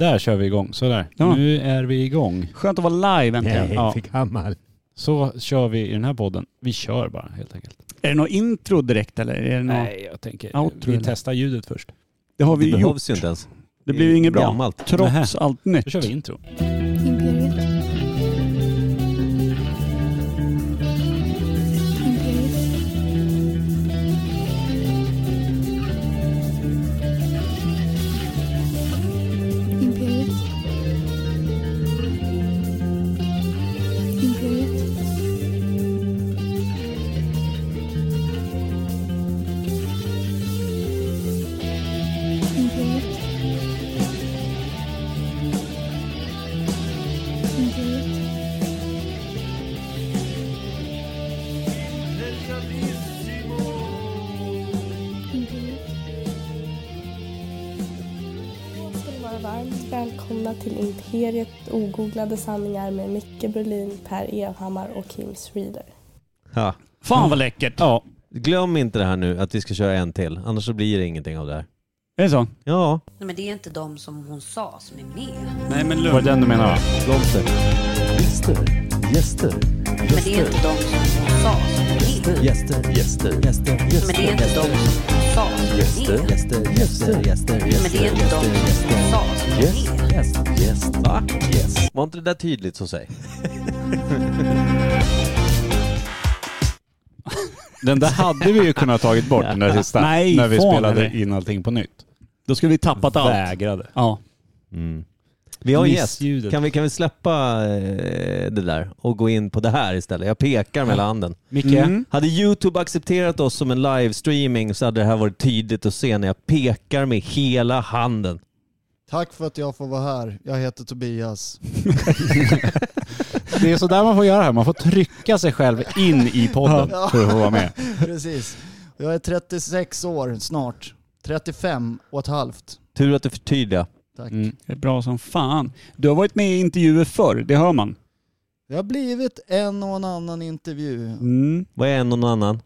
Där kör vi igång, sådär. Ja. Nu är vi igång. Skönt att vara live äntligen. Nej. Ja. för gammal. Så kör vi i den här podden. Vi kör bara helt enkelt. Är det något intro direkt eller? Är det något... Nej, jag tänker Outro vi eller? testar ljudet först. Det har vi det gjort. behövs ju inte ens. Det blir ju inget bra. Gammalt. Trots Nähä. allt nytt. Då kör vi intro. Imperiet. Imperiet. Imperiet. Imperiet. Imperiet. Imperiet. Imperiet. ska ni vara varmt välkomna till Imperiet ogooglade sanningar med Micke Berlin, Per Evhammar och Kim Schreeder. Ja. Fan vad läckert. Ja, Glöm inte det här nu att vi ska köra en till, annars så blir det ingenting av det här. Är det så? Ja, Nej, men det är inte de som hon sa som är med. Nej men var det den du menade va? Blomster. Gäster. Gäster. Men det är inte de som hon sa som är med. Gäster. Gäster. Gäster. Men det är inte de som hon sa som är med. Gäster. Gäster. Gäster. Men det är inte de som hon sa som är med. Gäst. Va? Gäst. var inte det där tydligt så säg? Den där hade vi ju kunnat tagit bort den där sista. Nej, när vi fan, spelade eller? in allting på nytt. Då skulle vi tappat allt. Vägrade. Ja. Vi har gäst. Missljudet. Kan vi, kan vi släppa eh, det där och gå in på det här istället? Jag pekar med hela handen. Micke? Mm. Hade YouTube accepterat oss som en livestreaming så hade det här varit tydligt att se när jag pekar med hela handen. Tack för att jag får vara här. Jag heter Tobias. Det är sådär man får göra här. Man får trycka sig själv in i podden för att få vara med. Precis. Jag är 36 år snart. 35 och ett halvt. Tur att du förtydligar. Tack. Mm. Det är bra som fan. Du har varit med i intervjuer förr, det hör man. Det har blivit en och en annan intervju. Mm. Vad är en och en annan?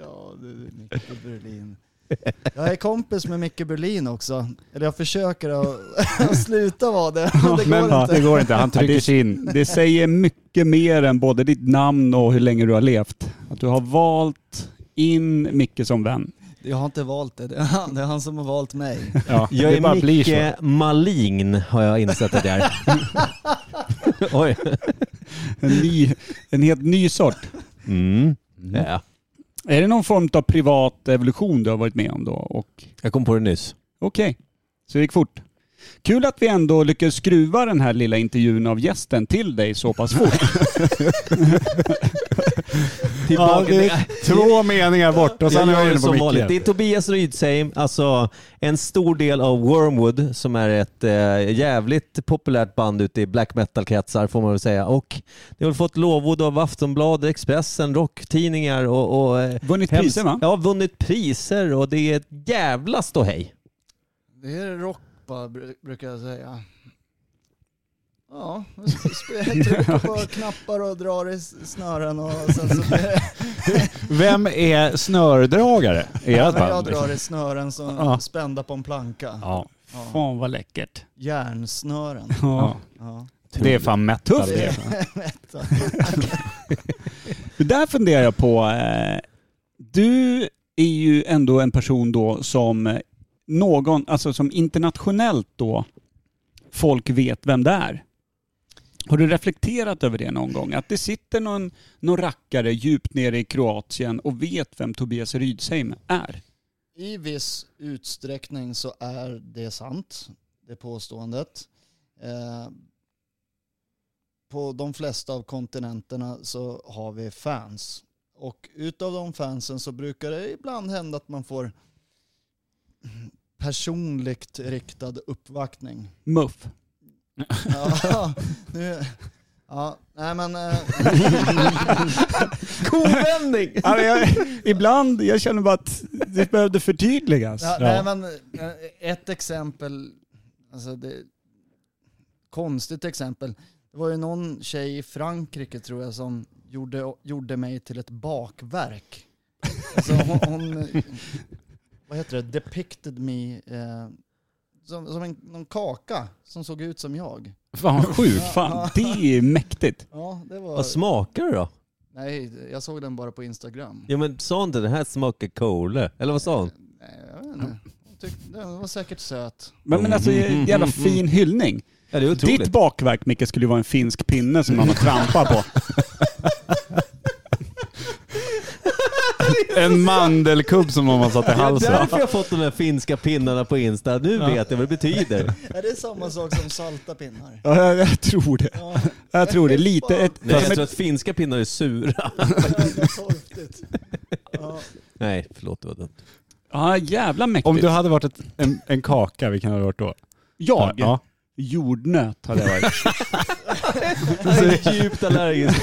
Ja, det är Micke Berlin. Jag är kompis med Micke Berlin också. Eller jag försöker att, att sluta vara det, men det men går va, Det inte. går inte. Han trycker sig in. Det säger mycket mer än både ditt namn och hur länge du har levt. Att du har valt in Micke som vän. Jag har inte valt det. Det är han, det är han som har valt mig. Ja, Jag det bara är blir så. Micke Malin har jag insett att jag är. Oj. En, ny, en helt ny sort. Mm. Ja. Är det någon form av privat evolution du har varit med om då? Och Jag kom på det nyss. Okej, så det gick fort. Kul att vi ändå lyckades skruva den här lilla intervjun av gästen till dig så pass fort. Ja, Tillbaka det till- är två meningar bort och sen jag är vi gör inne det på som Micke vanligt. Det igen. är Tobias Rydseim, alltså en stor del av Wormwood som är ett eh, jävligt populärt band ute i black metal-kretsar får man väl säga. Och det har väl fått lovord av Aftonbladet, Expressen, rocktidningar och... och eh, Vunnit hemskt- priser va? Ja, vunnit priser och det är ett jävla ståhej. Det är rock bara, bru- brukar jag säga. Ja, sp- sp- trycker på knappar och drar i s- snören och sen så blir det Vem är snördragare i ert Ja, Jag band? drar i snören som Ja. spända på en planka. Ja, Ja. Fan vad läckert. Järnsnören. Ja. Ja. det är fan metal Tufft. det. Det där funderar jag på. eh, Du är ju ändå en person då som eh, någon, alltså som internationellt då folk vet vem det är. Har du reflekterat över det någon gång? Att det sitter någon, någon rackare djupt nere i Kroatien och vet vem Tobias Rydseim är? I viss utsträckning så är det sant, det påståendet. Eh, på de flesta av kontinenterna så har vi fans. Och utav de fansen så brukar det ibland hända att man får personligt riktad uppvaktning. Muff. Ja, nu, ja, nej men... Eh, Kovändning! Alltså, jag, ibland, jag känner bara att det behövde förtydligas. Ja, Ja. Nej, men, eh, ett exempel, alltså det, konstigt exempel. Det var ju någon tjej i Frankrike tror jag som gjorde, gjorde mig till ett bakverk. Alltså hon, hon vad heter det, depicted me eh, som, som en, någon kaka som såg ut som jag. Fan vad sjukt. Fan, det är mäktigt. Ja, det var... Vad smakar det då? Nej, jag såg den bara på Instagram. Ja men sa inte den här smakar cola? Eller vad sa hon? Nej, jag vet inte. Hon tyckte, den var säkert söt. Men, men alltså jävla fin hyllning. Ja det är otroligt. Ditt bakverk Micke skulle ju vara en finsk pinne som någon har trampat på. En mandelkubb som någon har satt i det är halsen. därför jag fått de där finska pinnarna på Insta. Nu vet jag vad det betyder. Är det samma sak som salta pinnar? Ja, jag, jag tror det. Jag tror det. Lite ett... Nej, som jag tror ett att finska pinnar är sura. Vad torftigt. Ja, Nej, förlåt det var dumt. ja, jävla mäktigt. Om du hade varit ett, en, en kaka, vilken hade du varit då? Jag? Ja. Jordnöt hade jag varit. Han är djupt allergisk.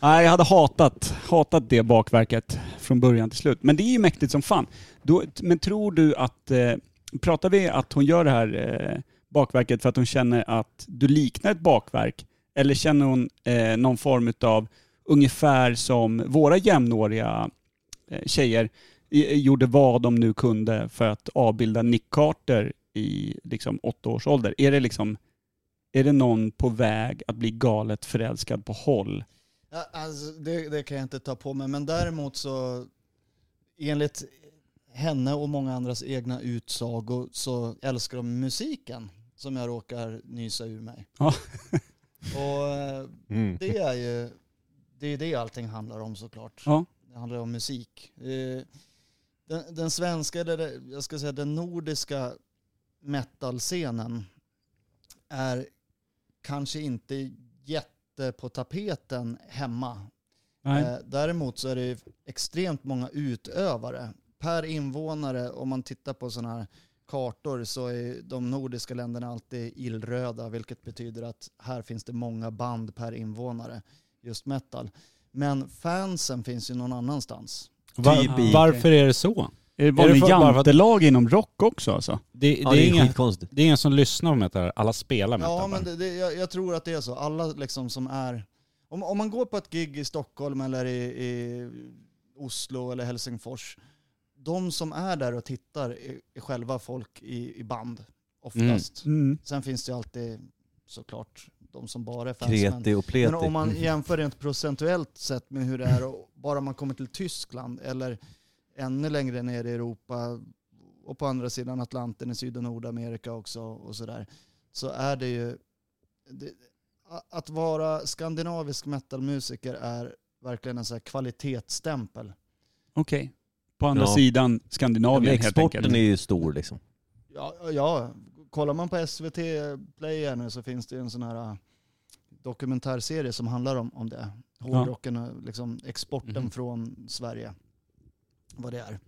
Nej, jag hade hatat, hatat det bakverket från början till slut. Men det är ju mäktigt som fan. Då, men tror du att... Eh, pratar vi att hon gör det här eh, bakverket för att hon känner att du liknar ett bakverk? Eller känner hon eh, någon form av ungefär som våra jämnåriga eh, tjejer i- eh, gjorde vad de nu kunde för att avbilda Nick Carter i liksom, åtta års ålder? Är det liksom... Är det någon på väg att bli galet förälskad på håll Ja, alltså, det, det kan jag inte ta på mig, men däremot så enligt henne och många andras egna utsagor så älskar de musiken som jag råkar nysa ur mig. Ja. och eh, Mm. det är ju det, är det allting handlar om såklart. Ja. Det handlar om musik. Eh, Den, den svenska, eller jag ska säga den nordiska metalscenen är kanske inte jätte på tapeten hemma Nej. Eh, Däremot så är det ju extremt många utövare. Per invånare, om man tittar på sådana här kartor, så är ju de nordiska länderna alltid illröda, vilket betyder att här finns det många band per invånare, just metal. Men fansen finns ju någon annanstans. Typ i- Var, varför är det så? Är det Är vanlig det för- bara för att- jantelag inom rock också alltså? Det, det, Ja, är det är ingen, skitkonstigt. det är ingen som lyssnar på metal, alla spelar metal. Ja, bara. men det, det, jag, jag tror att det är så. Alla liksom som är... Om, om man går på ett gig i Stockholm eller i, i Oslo eller Helsingfors, de som är där och tittar är, är själva folk i, i band, oftast. Sen finns det ju alltid såklart de som bara är fans. men- Kreti och pleti. men om man Mm. jämför rent procentuellt sett med hur det är, och bara man kommer till Tyskland eller ännu längre ner i Europa och på andra sidan Atlanten i Syd och Nordamerika också och sådär, så är det ju... Det, a- att vara skandinavisk metalmusiker är verkligen en sån här kvalitetsstämpel. Okej. På andra Ja. sidan Men Skandinavien helt Exporten enkelt. är ju stor liksom. Ja, ja, kollar man på SVT Play här nu så finns det ju en sån här äh, dokumentärserie som handlar om, om det. Hårdrocken och liksom exporten Mhm. från Sverige. Vad det är.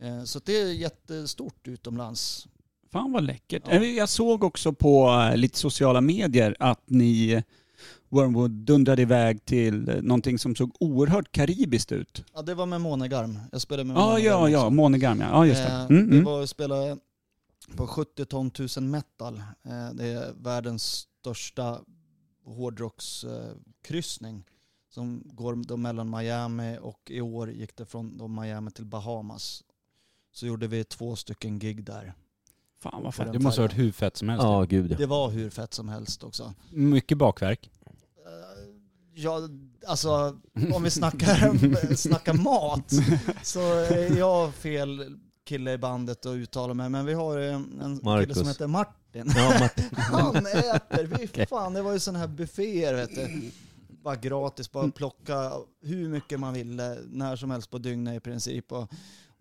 Eh, Så det är jättestort utomlands. Fan vad läckert. Ja. Jag såg också på eh, lite sociala medier att ni eh, Wormwood dundrade iväg till eh, någonting som såg oerhört karibiskt ut. Ja, det var med Månegarm. Jag spelade med Ja, ja, Månegarm ja. också. Monogram ja. Ja, just det. Eh, Mm, Det mm. var att spela på 70 ton 1000 metal. Eh, Det är världens största hårdrockskryssning som går då mellan Miami och i år gick det från då Miami till Bahamas. Så gjorde vi två stycken gig där. Fan vad fett. det måste ha varit hur fett som helst. Ja, gud ja. Det var hur fett som helst också. Mycket bakverk. Eh, Ja, alltså om vi snackar, snackar mat så är jag fel kille i bandet att uttala mig. Men vi har en, en kille Marcus. som heter Martin. Ja, Martin. Han äter, fy fan, det var ju sådana här bufféer vet du. Bara gratis, bara Mm. plocka hur mycket man ville, när som helst på dygnet i princip. Och,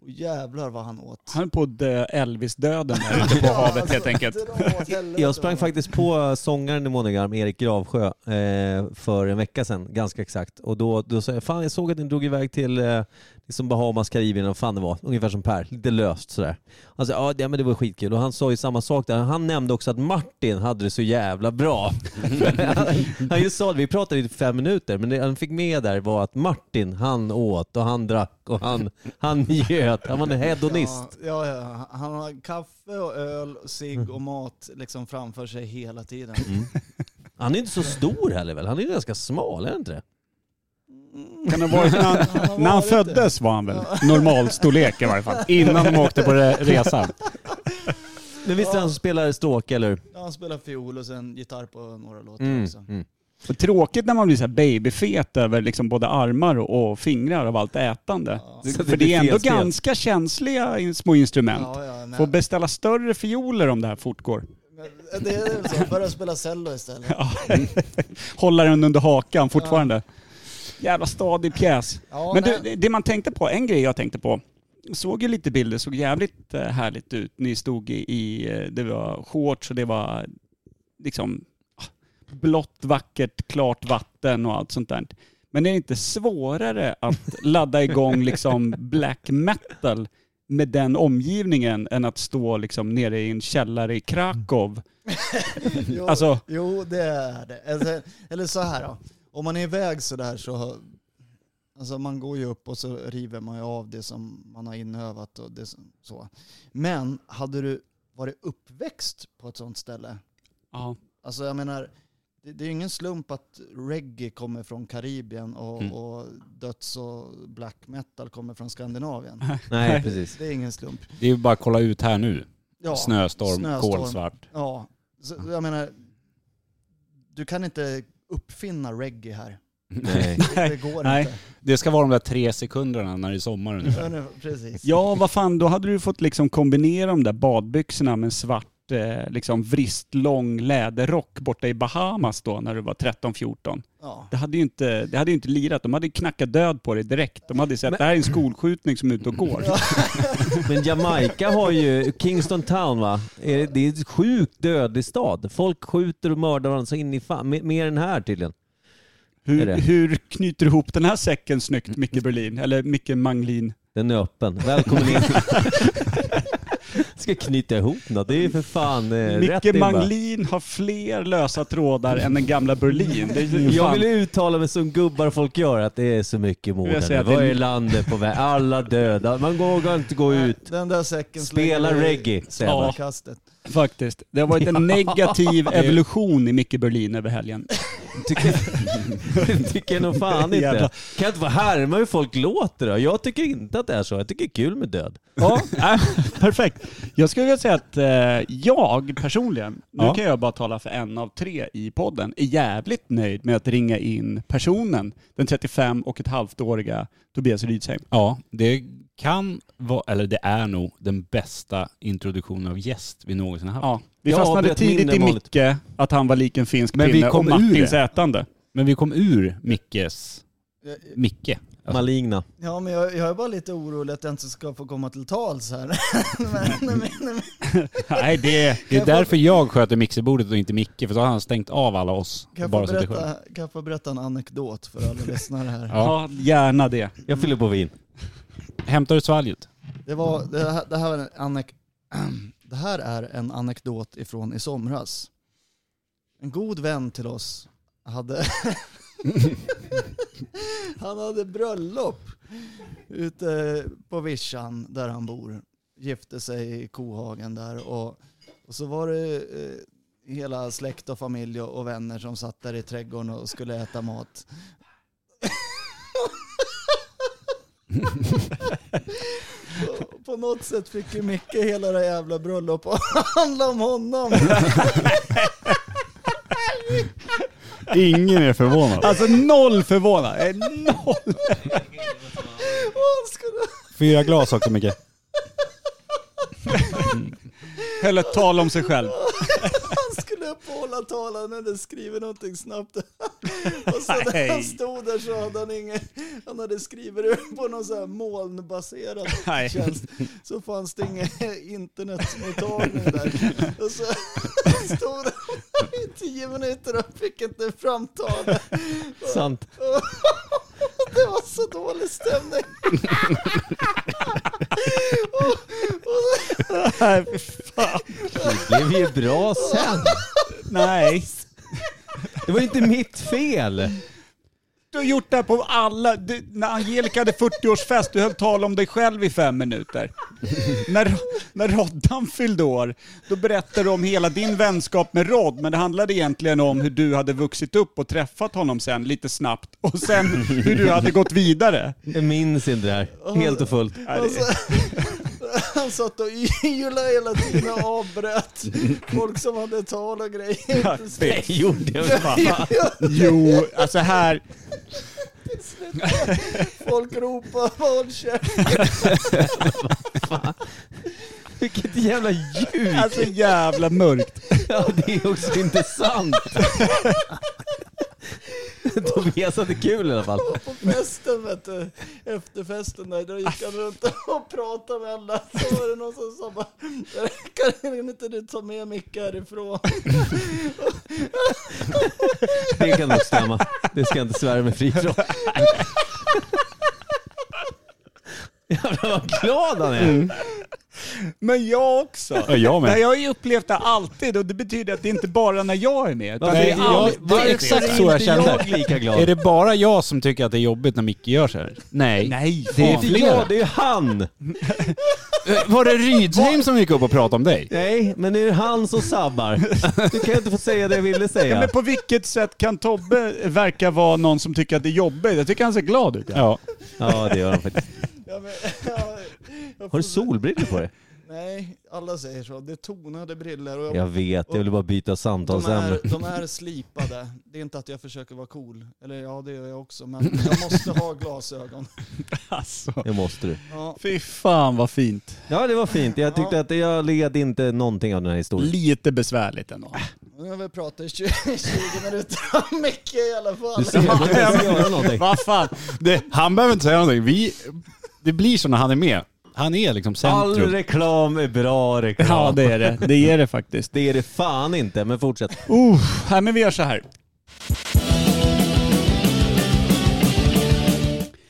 och jävlar vad han åt. Han är på dö- Elvis-döden där ute på havet helt Alltså, enkelt. dra åt helvete. Jag sprang faktiskt på sångaren i Monogram, Erik Gravsjö, eh, för en vecka sedan, ganska exakt. Och då, då sa jag, fan jag såg att ni drog iväg till eh, liksom Bahamas, Karibien och fan det var, ungefär som Per, lite löst sådär. Han sa, ja det- men det var skitkul. Och han sa ju samma sak där. Han nämnde också att Martin hade det så jävla bra. han just sa det, vi pratade i fem minuter, men det han fick med där var att Martin, han åt och han drack och han, han njöt. Han var en hedonist. Ja, ja, ja. Han har kaffe och öl, cigg Mm. och mat liksom framför sig hela tiden. Mm. Han är inte så stor heller väl? Han är ju ganska smal, är han inte det? Kan det ha varit när han, har när han varit det. föddes var han väl normalstorlek i varje fall. Innan de åkte på re- resan. Men visst är det han som spelar stråk eller? Ja, han spelar fiol och sen gitarr på några låtar Mm. också. Mm. Och tråkigt när man blir så här babyfet över liksom både armar och och fingrar av allt ätande. Ja. Det- Så det För det blir är ändå felspel. ganska känsliga in- små instrument. Ja, ja, men, Får beställa större fioler om det här fortgår. men eh, det är väl så. Börja spela cello istället. Hålla den under hakan fortfarande. Jävla stadig pjäs. Ja, Men nej. du, det man tänkte på, en grej jag tänkte på. Såg ju lite bilder, såg jävligt eh, härligt ut. Ni stod i, i eh, det var shorts och det var liksom ah, blått, vackert, klart vatten och allt sånt där. Men är det inte svårare att ladda igång liksom black metal med den omgivningen än att stå liksom nere i en källare i Krakow? jo, Alltså- jo, det är det. Eller, eller så här då. Om man är iväg så där så... Alltså man går ju upp och så river man ju av det som man har inövat och det som, så. Men hade du varit uppväxt på ett sånt ställe Ja. Alltså jag menar, det, det är ju ingen slump att reggae kommer från Karibien och, Mm. och döds och black metal kommer från Skandinavien. Nej, precis. Det är ingen slump. Det är ju bara att kolla ut här nu. Ja, snöstorm, snöstorm. kolsvart. Ja, så, jag menar, du kan inte uppfinna reggae här. Nej. Det, det går Nej. inte. Det ska vara de där tre sekunderna när det är sommar Ja, ungefär. nu- Precis. Ja, vad fan, då hade du fått liksom kombinera de där badbyxorna med en svart eh, liksom vristlång läderrock borta i Bahamas då när du var 13-14. Ja. Det hade ju inte, det hade ju inte lirat. De hade ju knackat död på dig direkt. De hade ju sett att det här är en skolskjutning som är ute och går. Men Jamaica har ju Kingston Town va? Är det- Det är en sjukt dödlig stad. Folk skjuter och mördar varandra så in i fan. Mer- Mer än här tydligen. Är Hur, det? hur knyter du ihop den här säcken snyggt, Micke Berlin? Eller Micke Manglin? Den är öppen. Välkommen in. Ska knyta ihop något. Det är ju för fan eh, rätt in, Micke va? Manglin har fler lösa trådar än den gamla Berlin. Det är ju Jag fan- vill uttala mig som gubbar folk gör att det är så mycket mord Jag här säger nu. att det är Vad är li- landet på väg? Alla döda. Man vågar inte gå ut. Den där säcken Spela slänger vi i reggae, säger Ja. Ja. man. Kastet. Faktiskt. Det har varit en negativ evolution i Micke Berlin över helgen. Tycker, tycker nog fan inte. Jävlar. Kan jag inte få härma hur folk låter då? Jag tycker inte att det är så. Jag tycker det är kul med död. Ja, nej, perfekt. Jag skulle vilja säga att eh, jag personligen, nu Ja. kan jag bara tala för en av tre i podden, är jävligt nöjd med att ringa in personen, den 35 och ett halvt-åriga Tobias Rydsheim. Ja, det kan vara, eller det är nog den bästa introduktionen av gäst vi någonsin har haft. Ja, vi Jag fastnade avbröt tidigt mindre i än vanligt. Micke, att han var lik en finsk Men vi pinne och kom ur Martins det. ätande. Men vi kom ur Mickes... Micke. Maligna. Ja, men jag, jag är bara lite orolig att jag inte ska få komma till tals här. men, men, men, Nej, det... Det är därför jag sköter mixerbordet och inte Micke, för då har han stängt av alla oss. Kan jag, bara få suttit själv. berätta, kan jag få berätta en anekdot för alla lyssnare här? Ja, gärna det. Jag fyller på vin. Hämtar du svalget? Det, var, det, här, det, här var en anek, det här är en anekdot ifrån i somras. En god vän till oss hade... han hade bröllop ute på vischan där han bor. Gifte sig i kohagen där och, och så var det eh, hela släkt och familj och, och vänner som satt där i trädgården och skulle äta mat. Och På något sätt fick ju Micke hela det jävla bröllopet att handla om honom. Ingen är förvånad. Alltså noll förvånad. Eh, Jag är Noll! Och han skulle... Fyra glas också Micke. Höll ett tal om sig själv. Han skulle upp och hålla talan eller skriva någonting snabbt. Och så när han Nej. stod där så hade han ingen, han hade skrivit det på någon sån här molnbaserad Nej. tjänst. Så fanns det ingen internetmottagning där. Och så stod han i tio minuter och fick inte fram talen. Sant. Det var så dålig stämning. Och, och Nej, fy fan. Det blev ju bra sen. Nej. Det var ju inte mitt fel. Du har gjort det här på alla. Du, när Angelica hade 40-årsfest, du höll tal om dig själv i fem minuter. när, när Roddan fyllde år, då berättade du om hela din vänskap med Rodd, men det handlade egentligen om hur du hade vuxit upp och träffat honom sen lite snabbt och sen hur du hade gått vidare. Jag minns inte det här. Helt och fullt. Alltså, han satt och ylade hela tiden och avbröt folk som hade tal och grejer. Till slut- Det gjorde jag väl fan. Jo, alltså här, till slut- Folk ropade håll käft. Vilket jävla ljud. alltså jävla mörkt. Ja, det är också inte sant. Tobias hade kul i alla fall. På festen vet du, efterfesten där, då gick han runt och pratade med alla. Så var det någon som sa bara, kan inte du ta med Micke härifrån? Det kan nog stämma. Det ska jag inte svära mig fri från. Jävlar vad glad han är. Men jag också. Ja, jag Nej, med. jag har ju upplevt det alltid och det betyder att det är inte bara när jag är med. Utan Nej, det är jag- alltid. det är exakt så jag Inte känner. jag lika glad. Är det bara jag som tycker att det är jobbigt när Micke gör så här? Nej. Nej, Det är Inte flera. jag, det är ju han. Eh, Var det Rydsheim som gick upp och pratade om dig? Nej, men det är han som sabbar. Du kan ju inte få säga det jag ville Ja, säga. men på vilket sätt kan Tobbe verka vara någon som tycker att det är jobbigt? Jag tycker han ser glad ut. Ja. Ja, det gör han faktiskt. Ja, men, ja, jag Har får- du solbrillor på dig? Nej, alla säger så. Det är tonade briller och jag, Jag vet, jag ville bara byta de, samtalsämne. är, de är slipade. Det är inte att jag försöker vara cool. Eller ja, det gör jag också. Men jag måste ha glasögon. Alltså. Det måste du. Ja, Fy fan vad fint. Ja, det var fint. Jag tyckte att jag led inte någonting av den här historien. Lite besvärligt ändå. nu har vi pratat i 20, 20 minuter om Micke i alla Du fall. ser, du behöver göra någonting. Vad fan? Det, han behöver inte säga någonting. Vi, det blir så när han är med. Han är liksom All centrum. reklam är bra reklam. Ja det är det. Det är det faktiskt. Det är det fan inte, men fortsätt. Uh, här, men vi gör så här.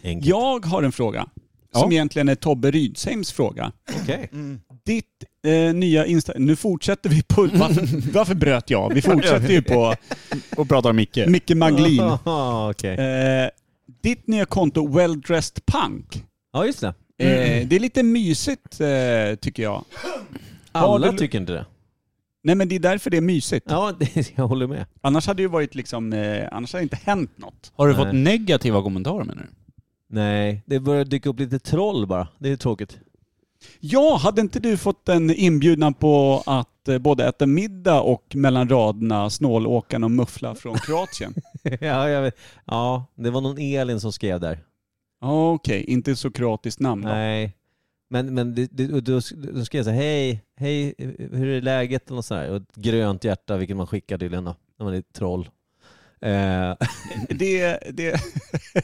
Enkelt. Jag har en fråga. Som egentligen är Tobbe Rydseims fråga. Okej. Ditt eh, nya Insta... Nu fortsätter vi på... Varför, varför bröt jag? Vi fortsätter ju på Och pratar om Micke. Micke Maglin. Aha, okej. Eh, ditt nya konto Well Dressed Punk. Ja, just det. Mm. Eh, det är lite mysigt eh, tycker jag. Har Alla du- tycker inte det. Nej men det är därför det är mysigt. Ja, det, jag håller med. Annars hade det ju varit liksom, eh, annars hade det inte hänt något. Har du Nej. fått negativa kommentarer menar du? Nej, det börjar dyka upp lite troll bara. Det är tråkigt. Ja, hade inte du fått en inbjudan på att eh, både äta middag och mellan raderna snålåkarna och muffla från Kroatien? ja, jag vet. ja, det var någon Elin som skrev där. Ja, Okej, inte så kroatiskt namn då. Nej. Men, men det, det, och då, då skrev jag så här, hej, hej, hur är läget? Och, något sånt här. och ett grönt hjärta, vilket man skickar tydligen då, när man är ett troll. Eh, Det, det,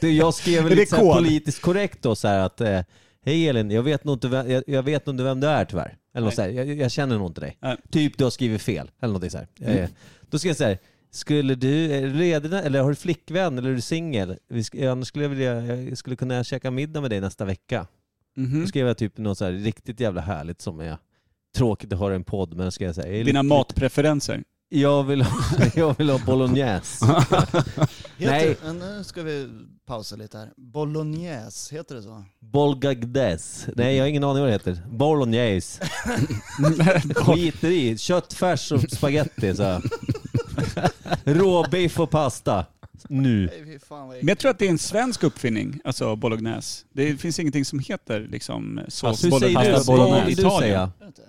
det, jag skrev Är det lite så här kod? politiskt korrekt då, så här att, eh, hej Elin, jag vet nog inte vem, jag, jag vet nog inte vem du är tyvärr. Eller något så här, jag, jag känner nog inte dig. Nej. Mm. Typ du har skrivit fel, eller någonting så här. Eh, då skrev jag så här, skulle du, är du redan, eller har du flickvän eller är du singel? Vi sk- Annars skulle jag vilja, jag skulle kunna käka middag med dig nästa vecka. Mhm. Då skrev jag typ något så här riktigt jävla härligt som är tråkigt att höra i en podd, men då skrev jag så här, jag är Dina lite- matpreferenser. Jag vill ha, jag vill ha bolognese. Heter, Nej. Nej. Nu ska vi pausa lite här. Bolognese, heter det Mm. så? Bolgagdes. Nej, jag har ingen aning vad det heter. Bolognese. Mm. Skiter i. Köttfärs och spaghetti så här. Råbiff och pasta. Nu. Nej, fy fan vad Men jag tror att det är en svensk uppfinning, alltså bolognese. Det finns ingenting som heter liksom sås Alltså, Hur säger du? pasta Vad bolognese. vill du säga? äckligt.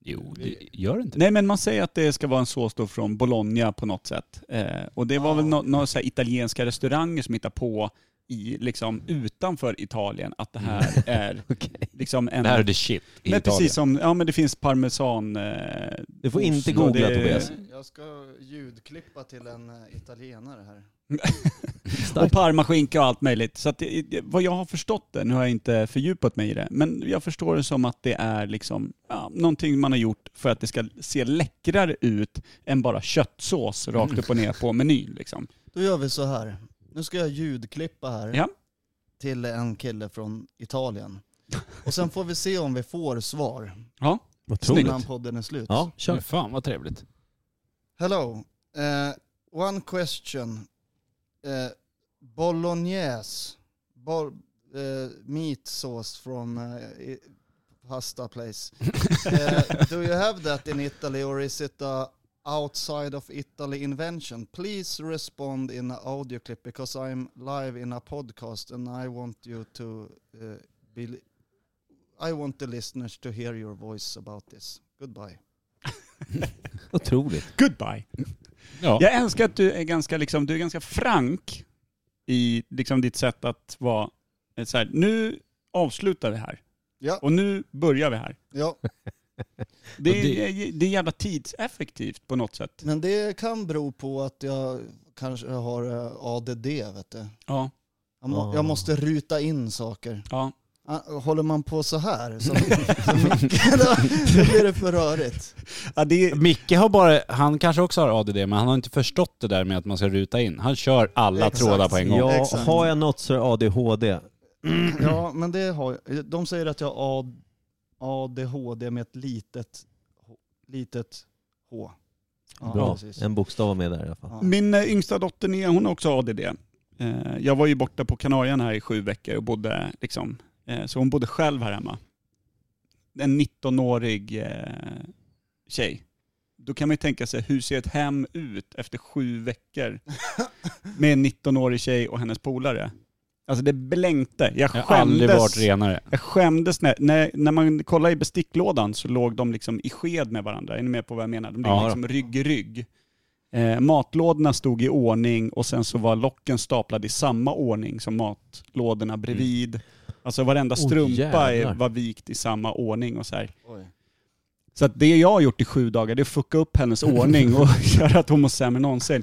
Jo, det gör det inte. Nej men man säger att det ska vara en sås då från Bologna på något sätt. Eh, och det var väl no- några så här italienska restauranger som hittade på i, liksom, utanför Italien att det här är Okej. liksom en... Mm. Det här är the shit i men Italien. precis som, ja men det finns parmesan... Eh, Du får ost inte och googla, det- Tobias. Jag ska ljudklippa till en eh, italienare här. Och parmaskinka och allt möjligt. Så att det, det- vad jag har förstått det, nu har jag inte fördjupat mig i det, men jag förstår det som att det är liksom, ja, någonting man har gjort för att det ska se läckrare ut än bara köttsås rakt upp och ner på menyn. Liksom. Då gör vi så här. Nu ska jag ljudklippa här Ja. till en kille från Italien. Och sen får vi se om vi får svar Ja. Vad innan podden är slut. Ja, Men kör. Fan vad trevligt. Hello. Eh, one question. Eh, Bolognese. Bol, eh, meat sauce from eh, i- pasta place. Eh, do you have that in Italy or is it a outside of Italy invention? Please respond in an audio clip because I'm live in a podcast and I want you to uh, be... I want the listeners to hear your voice about this. Goodbye. Otroligt. Goodbye. Ja. Jag älskar att du är ganska, liksom, du är ganska frank i liksom, ditt sätt att vara eh, så här, nu avslutar vi här. Ja. Och nu börjar vi här. Ja, Det Och det- är, det... är jävla tidseffektivt på något sätt. men det kan bero på att jag kanske har eh, ADD, vet du. Ja, Jag, må, jag måste ruta in saker. ja. Ah, Håller man på så här så, så mycket, då, då blir det för rörigt. ja det är... Micke har bara, han kanske också har ADD, men han har inte förstått det där med att man ska ruta in. Han kör alla Exakt. trådar på en gång. Ja, Exakt. har jag något så är det ADHD. Ja, men det har jag. De säger att jag har A- ADHD med ett litet, H- litet H. Ja, Bra, precis. en bokstav med där i alla fall. Ja. Min eh, yngsta dotter Nia, hon har också ADD. Eh, Jag var ju borta på Kanarien här i sju veckor och bodde liksom, eh, så hon bodde själv här hemma. En 19-årig eh, tjej. Då kan man ju tänka sig, hur ser ett hem ut efter sju veckor med en 19-årig tjej och hennes polare? Alltså det blänkte. Jag Jag har aldrig varit skämdes. renare. Jag skämdes när, när, när man kollade i besticklådan så låg de liksom i sked med varandra. Är ni med på vad jag menar? De låg Ja, liksom rygg i rygg. Eh, matlådorna stod i ordning och sen så var locken staplade i samma ordning som matlådorna bredvid. Alltså varenda Åh, strumpa är- jävlar. var vikt i samma ordning och så här. Oj. Så att det jag har gjort i sju dagar det är att fucka upp hennes ordning och göra att hon mår sämre än någonsin.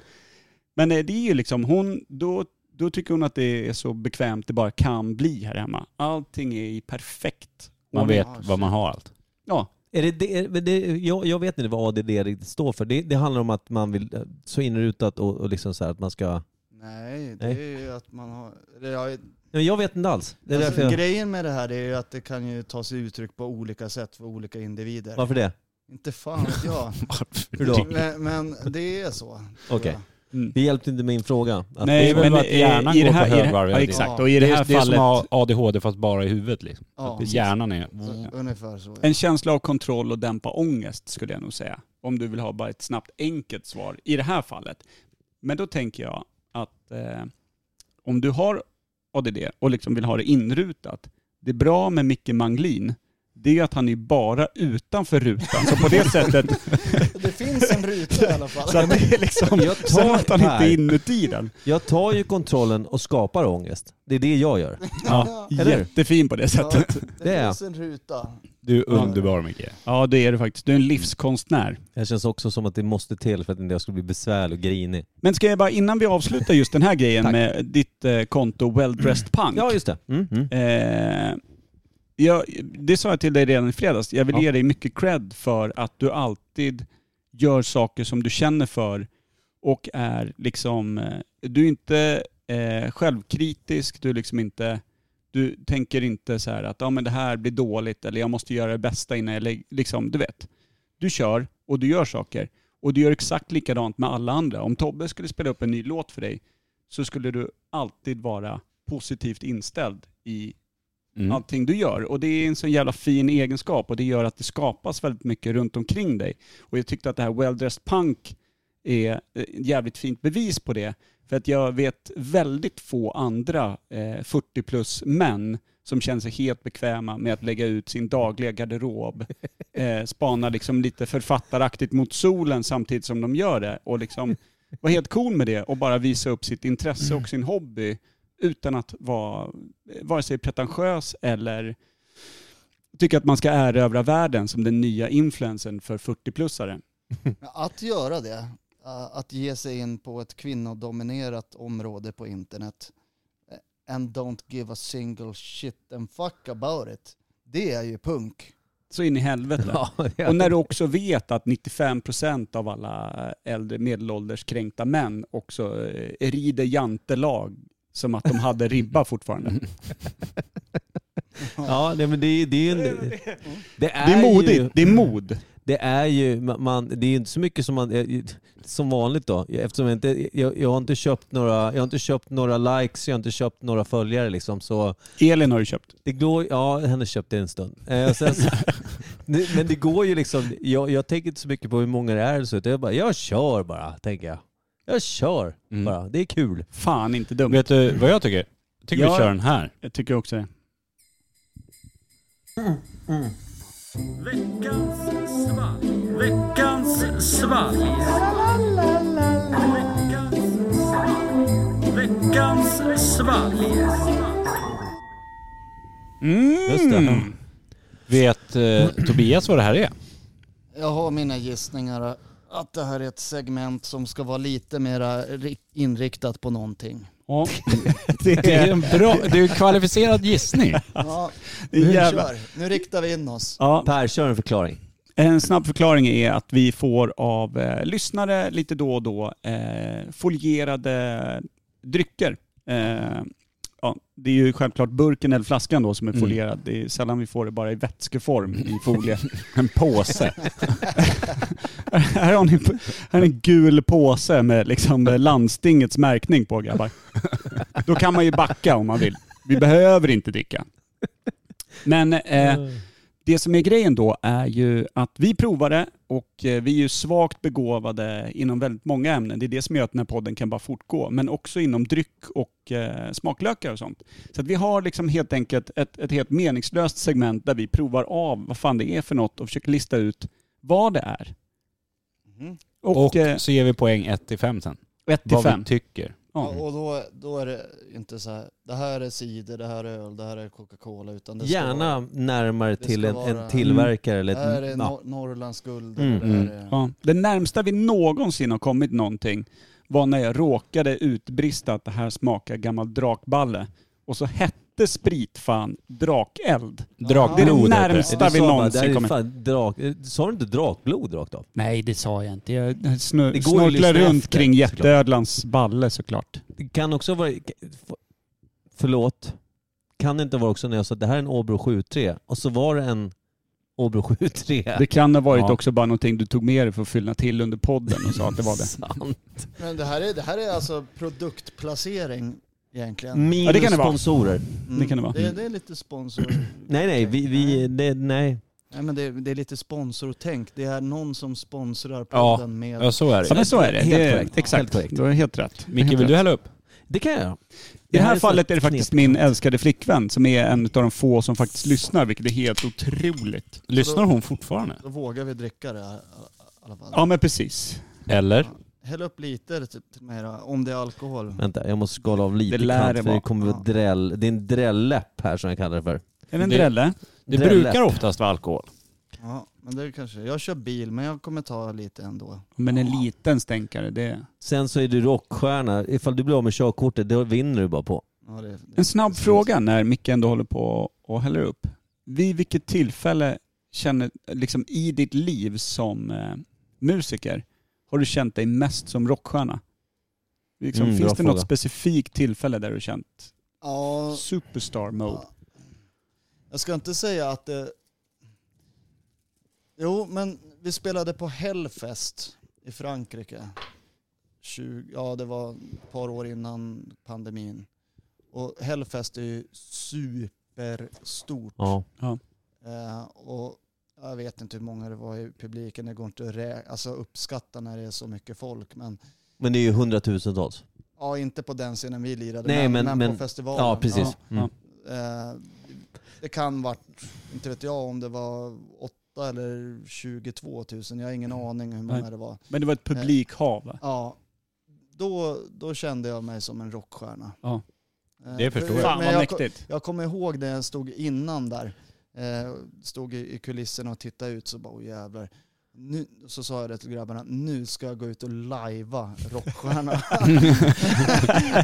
Men eh, det är ju liksom, hon, då, då tycker hon att det är så bekvämt det bara kan bli här hemma. Allting är i perfekt Man ordning. vet vad man har allt. Ja, Är det, det, är- men det, jag, jag vet inte vad ADD riktigt står för. Det, det handlar om att man vill eh, så inrutat och, och liksom så här att man ska... Nej, det Nej. är ju att man har... Det är, Nej, men jag vet inte alls. Det är alltså, därför jag, Grejen med det här är ju att det kan ju ta sig uttryck på olika sätt för olika individer. varför det? Inte fan vet jag. Hur då? Men, men det är så. tror Okej. jag. Det hjälpte inte min fråga. Att- det är väl bara att eh, hjärnan i det går här- på i det här- högvarv hela Ja, tiden. exakt. Och i det här det är fallet som att ha ADHD fast bara i huvudet. Liksom. Ja, Hjärnan är... så, ungefär så. Ja. en känsla av kontroll och dämpa ångest skulle jag nog säga. Om du vill ha bara ett snabbt enkelt svar i det här fallet. Men då tänker jag att eh, om du har ADD och liksom vill ha det inrutat. Det bra med Micke Manglin det är att han är bara utanför rutan. Så på det sättet, Det finns en ruta i alla fall. så att det är liksom, Jag tar så att han det här. inte är inuti den. Jag tar ju kontrollen och skapar ångest. Det är det jag gör. Ja, Eller? jättefin på det Ja, sättet. det Det är jag. finns en ruta. Du är underbar Micke. Ja det är det faktiskt. Du är en livskonstnär. Det känns också som att det måste till för att inte jag skulle bli besvärlig och grinig. Men ska jag bara, innan vi avslutar just den här grejen Tack. med ditt eh, konto Well Dressed Punk. Ja, just det. Mm, mm. Eh, jag, det sa jag till dig redan i fredags. Jag vill Ja. ge dig mycket cred för att du alltid gör saker som du känner för och är liksom... eh, Du är inte eh, självkritisk, du är liksom inte... Du tänker inte så här att ah, men det här blir dåligt eller jag måste göra det bästa innan jag lägger... Liksom, du vet. Du kör och du gör saker. Och du gör exakt likadant med alla andra. Om Tobbe skulle spela upp en ny låt för dig så skulle du alltid vara positivt inställd i Mm. allting du gör. Och det är en sån jävla fin egenskap och det gör att det skapas väldigt mycket runt omkring dig. Och jag tyckte att det här Well Dressed Punk är eh, ett jävligt fint bevis på det. För att jag vet väldigt få andra eh, 40 plus män som känner sig helt bekväma med att lägga ut sin dagliga garderob, eh, spana liksom lite författaraktigt mot solen samtidigt som de gör det och liksom vara helt cool med det och bara visa upp sitt intresse och sin hobby utan att vara eh, vare sig pretentiös eller tycka att man ska erövra världen som den nya influensen för 40-plussare. Men Att göra det, eh, att ge sig in på ett kvinnodominerat område på internet eh, and don't give a single shit and fuck about it. Det är ju punk. Så in i helvete. Ja, jag- Och när du också vet att 95% av alla äldre medelålders kränkta män också eh, rider jantelag som att de hade ribba fortfarande. ja nej, men det, är- det är ju en... Det Mm. Det är ju- modigt, det är mod. det är ju ma- man, det är ju inte så mycket som man, eh, som vanligt då. Eftersom jag inte, jag, jag har inte köpt några, jag har inte köpt några likes, jag har inte köpt några följare liksom. Så Elin har du köpt. det går, ja, henne köpte jag en stund. Eh, och sen så, Nu- men det går ju liksom, jag, jag tänker inte så mycket på hur många det är. eller Så, utan jag, bara, jag kör bara, tänker jag. Jag kör Mm. bara, det är kul. Fan inte dumt. Vet du vad jag tycker? Jag tycker Ja. vi kör den här. Jag tycker också det. Just det. Vet eh, Tobias vad det här är? Jag har mina gissningar att det här är ett segment som ska vara lite mera ri- inriktat på någonting. Ja. Det är en bra, det är en kvalificerad gissning. Ja, Det är nu, jävla- kör. nu riktar vi in oss. Ja, Per, kör en förklaring. en snabb förklaring är att vi får av eh, lyssnare lite då och då eh, folierade drycker. Eh, ja, det är ju självklart burken eller flaskan då som är Mm. folierad. Det är sällan vi får det bara i vätskeform i folie. En påse. här har ni här är en gul påse med liksom eh, landstingets märkning på grabbar. Då kan man ju backa om man vill. Vi behöver inte dricka. Men eh, det som är grejen då är ju att vi provade och eh, vi är ju svagt begåvade inom väldigt många ämnen. Det är det som gör att den här podden kan bara fortgå. Men också inom dryck och eh, smaklökar och sånt. Så att vi har liksom helt enkelt ett, ett helt meningslöst segment där vi provar av vad fan det är för något och försöker lista ut vad det är. Mhm. Och, Och eh, så ger vi poäng 1 till 5 sen. 1 till Vad 5. vi tycker. Ja, och då, då är det inte så här, det här är cider, det här är öl, det här är Coca-Cola. Utan det ska vara- Gärna närmare ska till en, vara- en tillverkare eller Det här ett... är Ja. Nor- Norrlands guld. Mm, det här mm. är- Ja. Det närmsta vi någonsin har kommit någonting var när jag råkade utbrista att det här smakar gammal drakballe. Och så hette sprit fan drakeld. Det är Drakblod det heter Du närmsta sa vi bara, någonsin det här är kommit. fan Drak, eh, sa du inte drakblod rakt av? Nej, det sa jag inte. Jag snur, Det går ju att snorklar lyssna runt efter, kring såklart. jätteödlans balle såklart. Det kan också vara... Förlåt. Kan det inte vara också när jag sa att det här är en Åbro 73 och så var det en Åbro 73. Det kan ha varit Ja. också bara någonting du tog med dig för att fylla till under podden och sa att det var det. Sant. Men det här, är, det här är alltså produktplacering egentligen. Minus Ja, det kan det vara. sponsorer. Mm. det kan det vara. Det, är lite sponsor... Nej, nej. Vi, vi, det, nej. Nej, men det, är- det är lite sponsortänk. Det är någon som sponsrar Ja. podden med... Ja så är Ja, det. men så är det. Helt det är, korrekt. Exakt. Helt korrekt. Du har helt rätt. Micke Helt vill du rätt. hälla upp? Det kan jag göra. I det här så fallet är det faktiskt knepigt. min älskade flickvän som är en av de få som faktiskt lyssnar, vilket är helt otroligt. Lyssnar hon fortfarande? Då vågar vi dricka det här, i alla fall. Ja men precis. Eller? Häll upp lite typ, till mig då, om det är alkohol. Vänta, jag måste skala av lite Det lär det kant för vara. det kommer vara dräll. Det är en drälläpp här som jag kallar det för. Är det en Det- drälle? Det Drälle. brukar oftast vara alkohol. Ja, men det kanske... Jag kör bil, men jag kommer ta lite ändå. Men en liten stänkare, det är... Sen så är du rockstjärna. Ifall du blir av med körkortet, det vinner du bara på. Ja, det, det, En snabb fråga när Micke ändå håller på och häller upp. Vid vilket tillfälle känner, liksom i ditt liv som eh, musiker, har du känt dig mest som rockstjärna? Liksom, Mm, finns bra det något fråga. specifikt tillfälle där du känt Ja, superstar mode? Ja. Jag ska inte säga att det... Jo, men vi spelade på Hellfest i Frankrike. 20... Ja, det var ett par år innan pandemin. Och Hellfest är ju superstort. Ja. Eh, och jag vet inte hur många det var i publiken. Det går inte att rä- alltså, uppskatta när det är så mycket folk. Men Men det är ju hundratusentals. ja, inte på den scenen vi lirade, Nej, men, men- men, men- på festivalen. Ja, precis. Ja, Mm. Eh, det kan varit, inte vet jag om det var 8 eller 22 000. Jag har ingen Mm. aning hur många Nej. det var. Men det var ett Eh. publikhav va? Ja, då, då kände jag mig som en rockstjärna. Ja. Eh, Det förstår men- jag. Fan men vad ko- mäktigt. jag kommer ihåg när jag stod innan där. Eh, stod i, i kulisserna och tittade ut så bara, åh jävlar. Nu, så sa jag det till grabbarna, nu ska jag gå ut och lajva rockstjärna.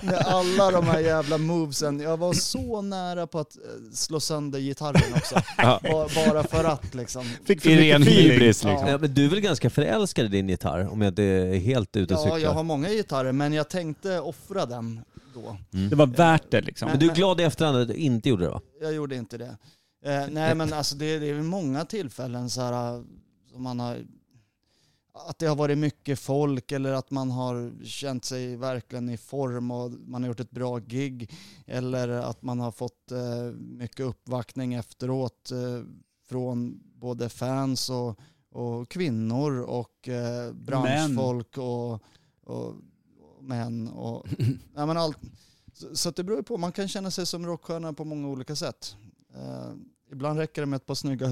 med alla de här jävla movesen. Jag var så nära på att eh, slå sönder gitarren också. Ja. Bara, bara för att liksom. Fick I ren hybris Ja. liksom. Ja, men du är väl ganska förälskad i din gitarr om jag inte är helt ute och Ja, cyklar? jag har många gitarrer men jag tänkte offra den då. Det var värt det liksom. Men du är glad i efterhand att du inte gjorde det va? jag gjorde inte det. Eh, nej men alltså det, det är många tillfällen så här, som man har, att det har varit mycket folk eller att man har känt sig verkligen i form och man har gjort ett bra gig. Eller att man har fått eh, mycket uppvaktning efteråt eh, från både fans och, och kvinnor och eh, branschfolk och, och, och män. Och, nej, men allt. Så, så att det beror ju på, man kan känna sig som rockstjärna på många olika sätt. Eh, ibland räcker det med ett par snygga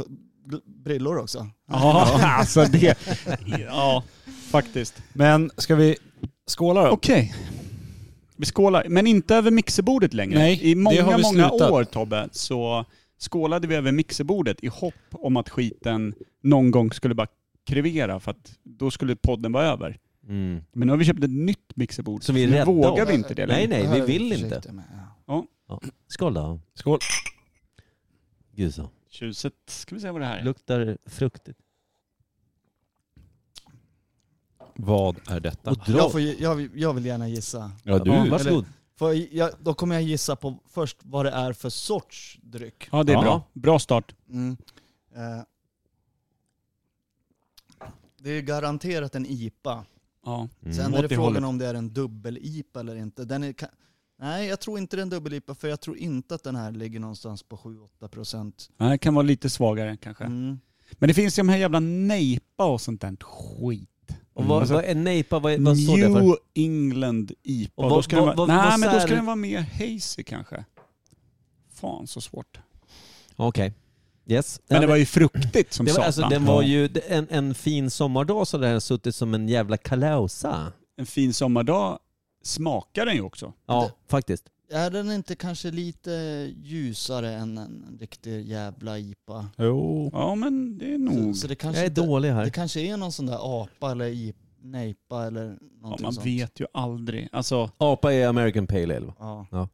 gl- brillor också. Ja, alltså det... Ja, faktiskt. Men ska vi skåla då? Okej. Vi skålar, men inte över mixerbordet längre. Nej, I det många, har vi många slutat. år Tobbe, så skålade vi över mixerbordet i hopp om att skiten någon gång skulle bara krevera för att då skulle podden vara över. Mm. Men nu har vi köpt ett nytt mixerbord. Som vi är nu rädda vågar om. vi inte det längre. Nej, nej, Det här vi är vill försiktiga inte. Med, ja. Skål då. Skål. Gud så. Tjuset. Ska vi se vad det här är? Luktar fruktigt. Vad är detta? Och Jag, dra. får, jag, vill- jag vill gärna gissa. Ja, Ja, du. varsågod. Får jag, jag, då kommer jag gissa på först vad det är för sorts dryck. Ja, det är Ja. bra. Bra start. Mm. Eh, det är ju garanterat en IPA. Ja. Sen Mm. är åt det det frågan hållet. om det är en dubbel-IPA eller inte. Den är, ka- nej, jag tror inte det är en dubbel-IPA för jag tror inte att den här ligger någonstans på 7-8 procent. Nej, kan vara lite svagare kanske. Mm. Men det finns ju de här jävla nejpa och sånt där skit. Och vad, Alltså, vad är nejpa? Vad, vad står det för? New England IPA. Och vad- då ska den vad- vara, vad- nej, vad men då sär- ska den vara mer hazy kanske. Fan så svårt. Okej. Yes. Men Ja, det var ju fruktigt som det var, satan. alltså, den var ju en, en fin sommardag så hade den suttit som en jävla kalausa. En fin sommardag smakar den ju också. Ja, faktiskt. Är den inte kanske lite ljusare än en riktig jävla IPA? Jo. Ja men det är nog... Så, så det, Jag kanske är inte, dålig det här. kanske är någon sån där apa eller IPA, nejpa eller ja, någonting man sånt. vet ju aldrig. Alltså Apa är American Pale Ale. va? Ja.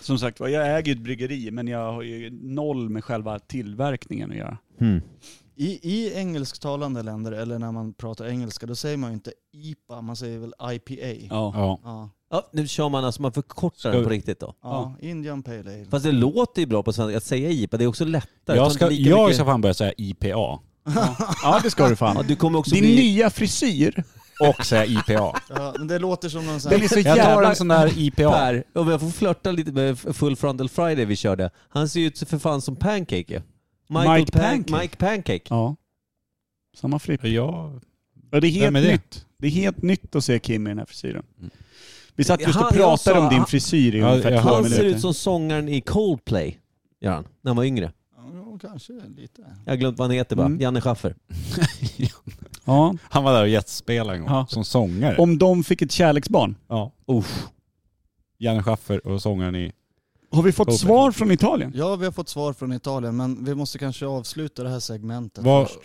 som sagt var, jag äger ju ett bryggeri men jag har ju noll med själva tillverkningen att göra. Hmm. I, I engelsktalande länder, eller när man pratar engelska, då säger man ju inte IPA, man säger väl IPA. Ja. Ja. Ja. Ja. Ja, nu kör man alltså, man förkortar den Ska- på riktigt då. Indian Pale Ale. Fast det låter ju bra på svenska, att säga IPA det är också lättare. Det tar Jag, inte ska, lika jag mycket- ska fan börja säga IPA ja det ska du Ja, fan. du kommer också Din bli... nya frisyr, och säga IPA. Ja, men det låter som någon sån den är här... så Jag tar en jävla... sån där IPA. Per, om jag får flörta lite med Full Frontal Friday vi körde. Han ser ju ut för fan som Pancake ju. Mike Pan- Pancake. Mike Pancake. Ja. Samma fripp. Ja. Ja, det är helt Vem är det? nytt. Det är helt nytt att se Kim i den här frisyren. Vi satt just Han- och jag pratade sa- om din han- frisyr i Mm. Ja, ungefär jag- två Han ser minuter. ut som sångaren i Coldplay. Gör han. När han var yngre. Ja, kanske lite. Jag har glömt vad han heter bara. Mm. Janne Schaffer. Ja. Han var där och gästspelade en gång Ja. som sångare. Om de fick ett kärleksbarn. Ja. Uff. Janne Schaffer och sångaren i... Har vi fått Coldplay. svar från Italien? Ja, vi har fått svar från Italien, men vi måste kanske avsluta det här segmentet Vad- först.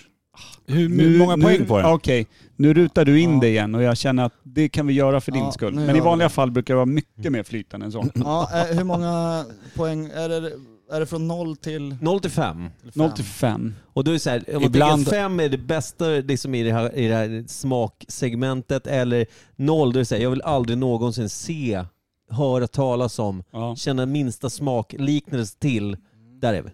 Hur många poäng på den? Okej, nu rutar du in Ja. det igen och jag känner att det kan vi göra för din Ja, skull. nu Men i gör vanliga vi det. fall brukar det vara mycket mer flytande än Mm. så. Ja, eh, hur många poäng? Är det, är det från 0 till 0 till 5. till 5? 0 till 5. Och då är det så här, om Ibland- Ibland... tycker 5 är det bästa liksom, i, det här, i det här smaksegmentet eller 0, då är det så här, jag vill aldrig någonsin se, höra talas om, Ja. känna minsta smakliknelse till. Där är vi.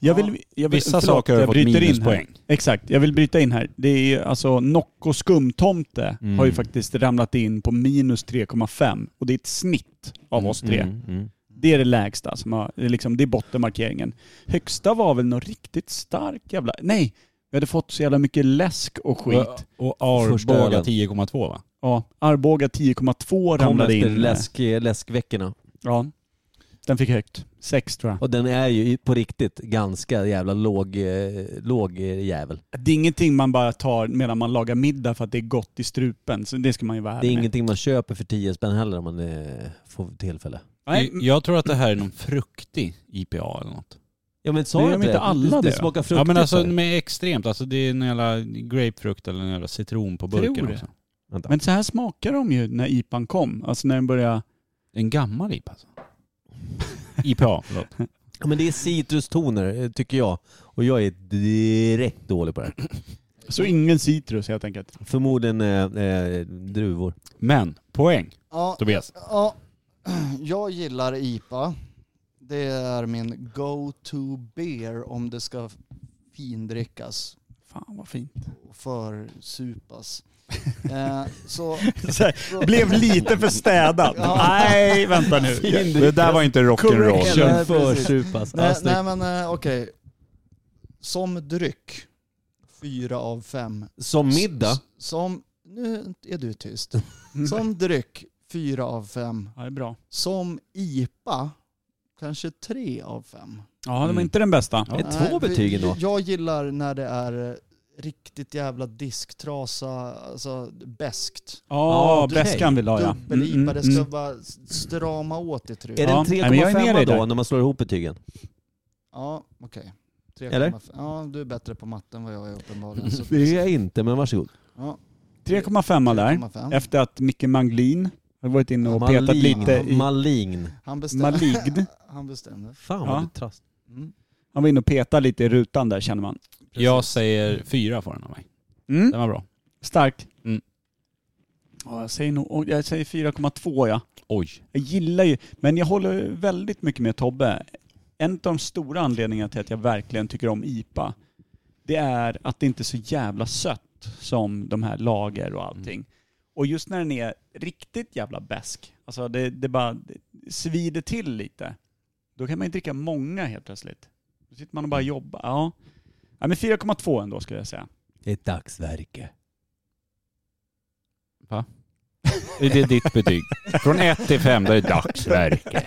Jag vill, jag vill, Vissa saker har jag fått bryter in här. minuspoäng. Exakt, jag vill bryta in här. Det är ju alltså Nocco skumtomte Mm. har ju faktiskt ramlat in på minus 3,5 och det är ett snitt av oss tre. Mm, mm. Det är det lägsta som har, det är liksom, det är bottenmarkeringen. Högsta var väl någon riktigt stark jävla... Nej! Vi hade fått så jävla mycket läsk och skit. Och Första Arboga ölen. 10,2 va? Ja, Arboga 10,2 Kom ramlade efter in. eh, läsk, läskveckorna. Ja. Den fick högt. Sex tror jag. Och den är ju på riktigt ganska jävla låg, eh, låg eh, jävel. Det är ingenting man bara tar medan man lagar middag för att det är gott i strupen. Så det ska man ju vara Det är ärlig med. ingenting man köper för 10 spänn heller om man eh, får tillfälle. Nej, Jag- Jag tror att det här är någon fruktig IPA eller något. Ja men sa Men jag gör inte inte det? alla det? det? Det smakar fruktigt. Ja men alltså här. med extremt, alltså det är en jävla grapefrukt eller en jävla citron på Tror burken det. också. Vänta. Men så här smakar de ju när IPan kom. Alltså när den började... En gammal IPA alltså. IPA, förlåt. Ja, men det är citrustoner eh, tycker jag. Och jag är direkt dålig på det här. Så ingen citrus helt enkelt. Förmodligen eh, eh, druvor. Men poäng Ja, Tobias. ja, jag gillar IPA. Det är min go-to beer om det ska findrickas. Fan vad fint. och försupas. Eh, så, Så här, blev lite för städad. Nej, vänta nu. Det där var inte Correct. rock'n'roll. Ja, Kör nej, precis. försupas. Alltså, nej, Ja, nej snyggt. men eh, okej. Som dryck, fyra av fem. Som middag. S- Som, nu är du tyst. Som dryck, fyra av fem. Ja, det är bra. Som IPA, kanske tre av fem. Ja, det var Mm. inte den bästa. Ja. Det är två Nej, betyg vi- ändå. Jag gillar när det är eh, riktigt jävla disktrasa, alltså beskt. Ja, okej. bäskan Ah, vill ha ja. Mm, Dubbel-IPA, det ska bara strama åt i Är tryck. det- Ja, nej, men jag är med den 3,5 dig då där. när man slår ihop betygen? Ja, okej. Eller? 3,5. Ja, du är bättre på matten än vad jag är uppenbarligen. Så Det är jag inte, men varsågod. ja, 3,5 där. 3,5. Efter att Micke Manglin har varit inne och Malin. petat lite i Malign. Han bestämde. maligd. Han bestämde. Fan Ja. vad du trast. Mm. Han var inne och petade lite i rutan där känner man. Jag säger fyra får den av mig. Mm. Den var bra. Stark. Mm. Ja, jag säger, nog, jag säger 4,2 ja. Oj. Jag gillar ju, men jag håller väldigt mycket med Tobbe. En av de stora anledningarna till att jag verkligen tycker om IPA, det är att det inte är så jävla sött som de här lager och allting. Och just när den är riktigt jävla besk, alltså det, det bara det svider till lite, då kan man ju dricka många helt plötsligt. Då sitter man och bara jobbar. Ja. ja men 4,2 ändå skulle jag säga. Ett dagsverke. Är det ditt betyg? Från 1 till 5, då är det dagsverke.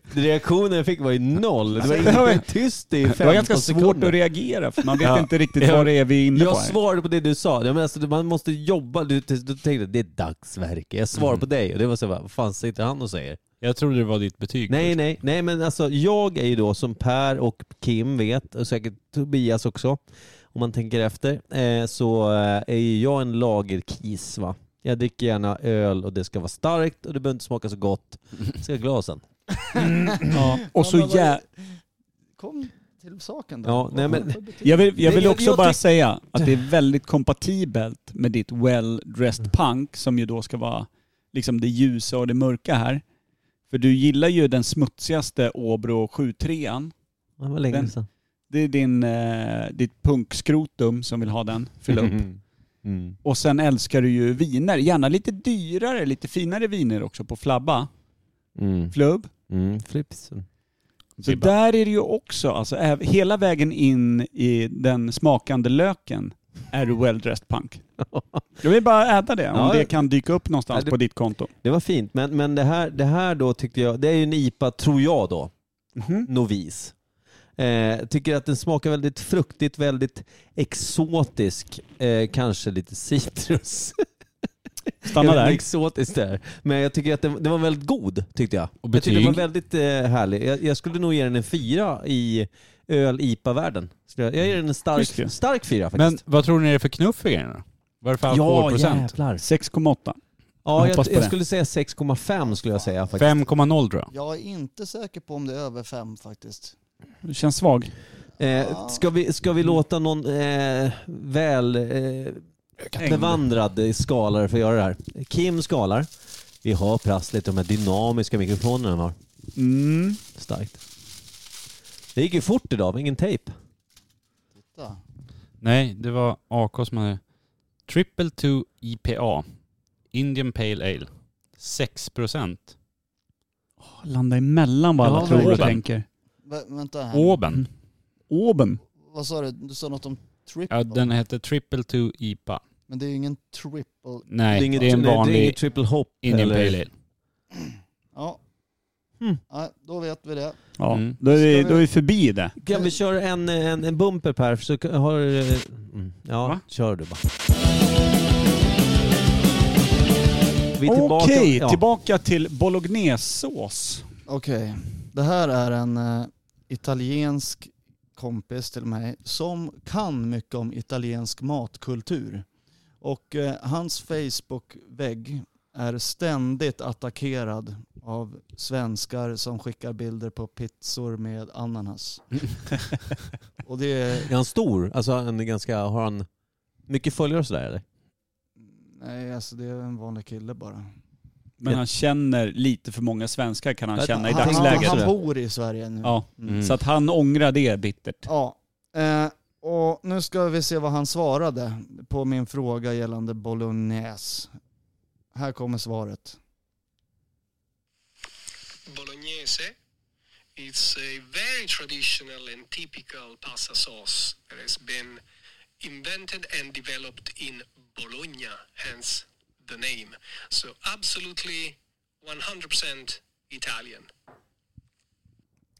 Reaktionen jag fick var ju noll. Det var, Det var- inte tyst i 15 Alltså, Det var ganska svårt sekunder. att reagera för man vet Ja. inte riktigt vad det är vi är inne på. Jag här. svarade på det du sa. Jag menar, alltså, man måste jobba. Du, du tänkte jag, det är dagsverke. Jag Mm. svarade på dig och det var så här, vad fan sitter han och säger? Jag trodde det var ditt betyg. Nej, nej, nej, men alltså jag är ju då som Per och Kim vet, och säkert Tobias också, om man tänker efter, eh, så eh, är ju jag en lagerkis va. Jag dricker gärna öl och det ska vara starkt och det behöver inte smaka så gott. Jag ska ha glasen. Ja. Och så Ja, men vad- jä- Kom till saken då. Ja, nej, men- Jag vill, jag vill jag- också jag bara tyck- säga att det är väldigt kompatibelt med ditt Mm. well-dressed punk som ju då ska vara liksom det ljusa och det mörka här. För du gillar ju den smutsigaste Åbro 73 Det var länge Den- sedan. Det är din, eh, ditt punkskrotum som vill ha den. Fyll upp. Mm. Och sen älskar du ju viner. Gärna lite dyrare, lite finare viner också på flabba. Mm. Flubb. Mm. Flips. Så där är det ju också, alltså äv- hela vägen in i den smakande löken är du well-dressed punk. Jag vill bara äta det, om Ja, det jag- kan dyka upp någonstans Ja, det- på ditt konto. Det var fint, men, men det, här, det här då tyckte jag, det är ju en IPA tror jag då, Mhm. novis. Eh, tycker att den smakar väldigt fruktigt, väldigt exotisk, eh, kanske lite citrus. Stanna Jag vet inte, där. Exotiskt där. Men jag tycker att den, den var väldigt god, tyckte jag. Och Jag tyckte den betyg? var väldigt eh, härlig. Jag, jag skulle nog ge den en fyra i öl-IPA-världen. Skulle Jag jag ger den en Just stark, det. stark fyra Men faktiskt. vad tror ni är det för knuff i grejerna då? Varför alkoholprocent? jävlar. 6,8. Ja, hoppas jag, på jag det. skulle säga 6,5 skulle jag säga faktiskt. 5,0 tror jag. Jag är inte säker på om det är över fem faktiskt. Du känns svag. Eh, ska, vi, ska vi låta någon eh, väl eh, bevandrad skalare få göra det här? Kim skalar. Vi har prasslet i de här dynamiska mikrofonerna han har. Mm. Starkt. Det gick ju fort idag med ingen tejp. Titta. Nej, det var AK som hade Triple Two IPA Indian Pale Ale 6 procent. Landa emellan vad alla Ja, tror och verkligen. tänker. Vä- vänta här. Åben. Åben. Vad sa du? Du sa något om triple. Ja, den hette Triple Two IPA. Men det är ju ingen triple. Nej, det är, inget- en nej, det är vanlig inget triple hop. Indian eller- Pale Ale. Ja. Mm. ja. Då vet vi det. Ja, Mm. då, är vi, Ska vi- då är vi förbi det. Kan vi köra en, en, en bumper Per? Så k- har, eh, mm, ja, Va? kör du bara. Vi är tillbaka- Okej, ja. tillbaka till bolognesås. Okej. Det här är en eh, italiensk kompis till mig som kan mycket om italiensk matkultur. Och eh, hans Facebook-vägg är ständigt attackerad av svenskar som skickar bilder på pizzor med ananas. Och det är... Är han stor? Alltså en ganska, har han mycket följare och sådär eller? Nej, alltså det är en vanlig kille bara. Men han känner lite för många svenskar kan han Nej, känna i han, dagsläget. Han, han bor i Sverige nu. Ja, Mm. så att han ångrar det bittert. Ja. Eh, och nu ska vi se vad han svarade på min fråga gällande bolognese. Här kommer svaret. Bolognese. It's a very traditional and typical pasta sauce that has been invented and developed in Bologna, hence the name. So absolutely 100% Italian.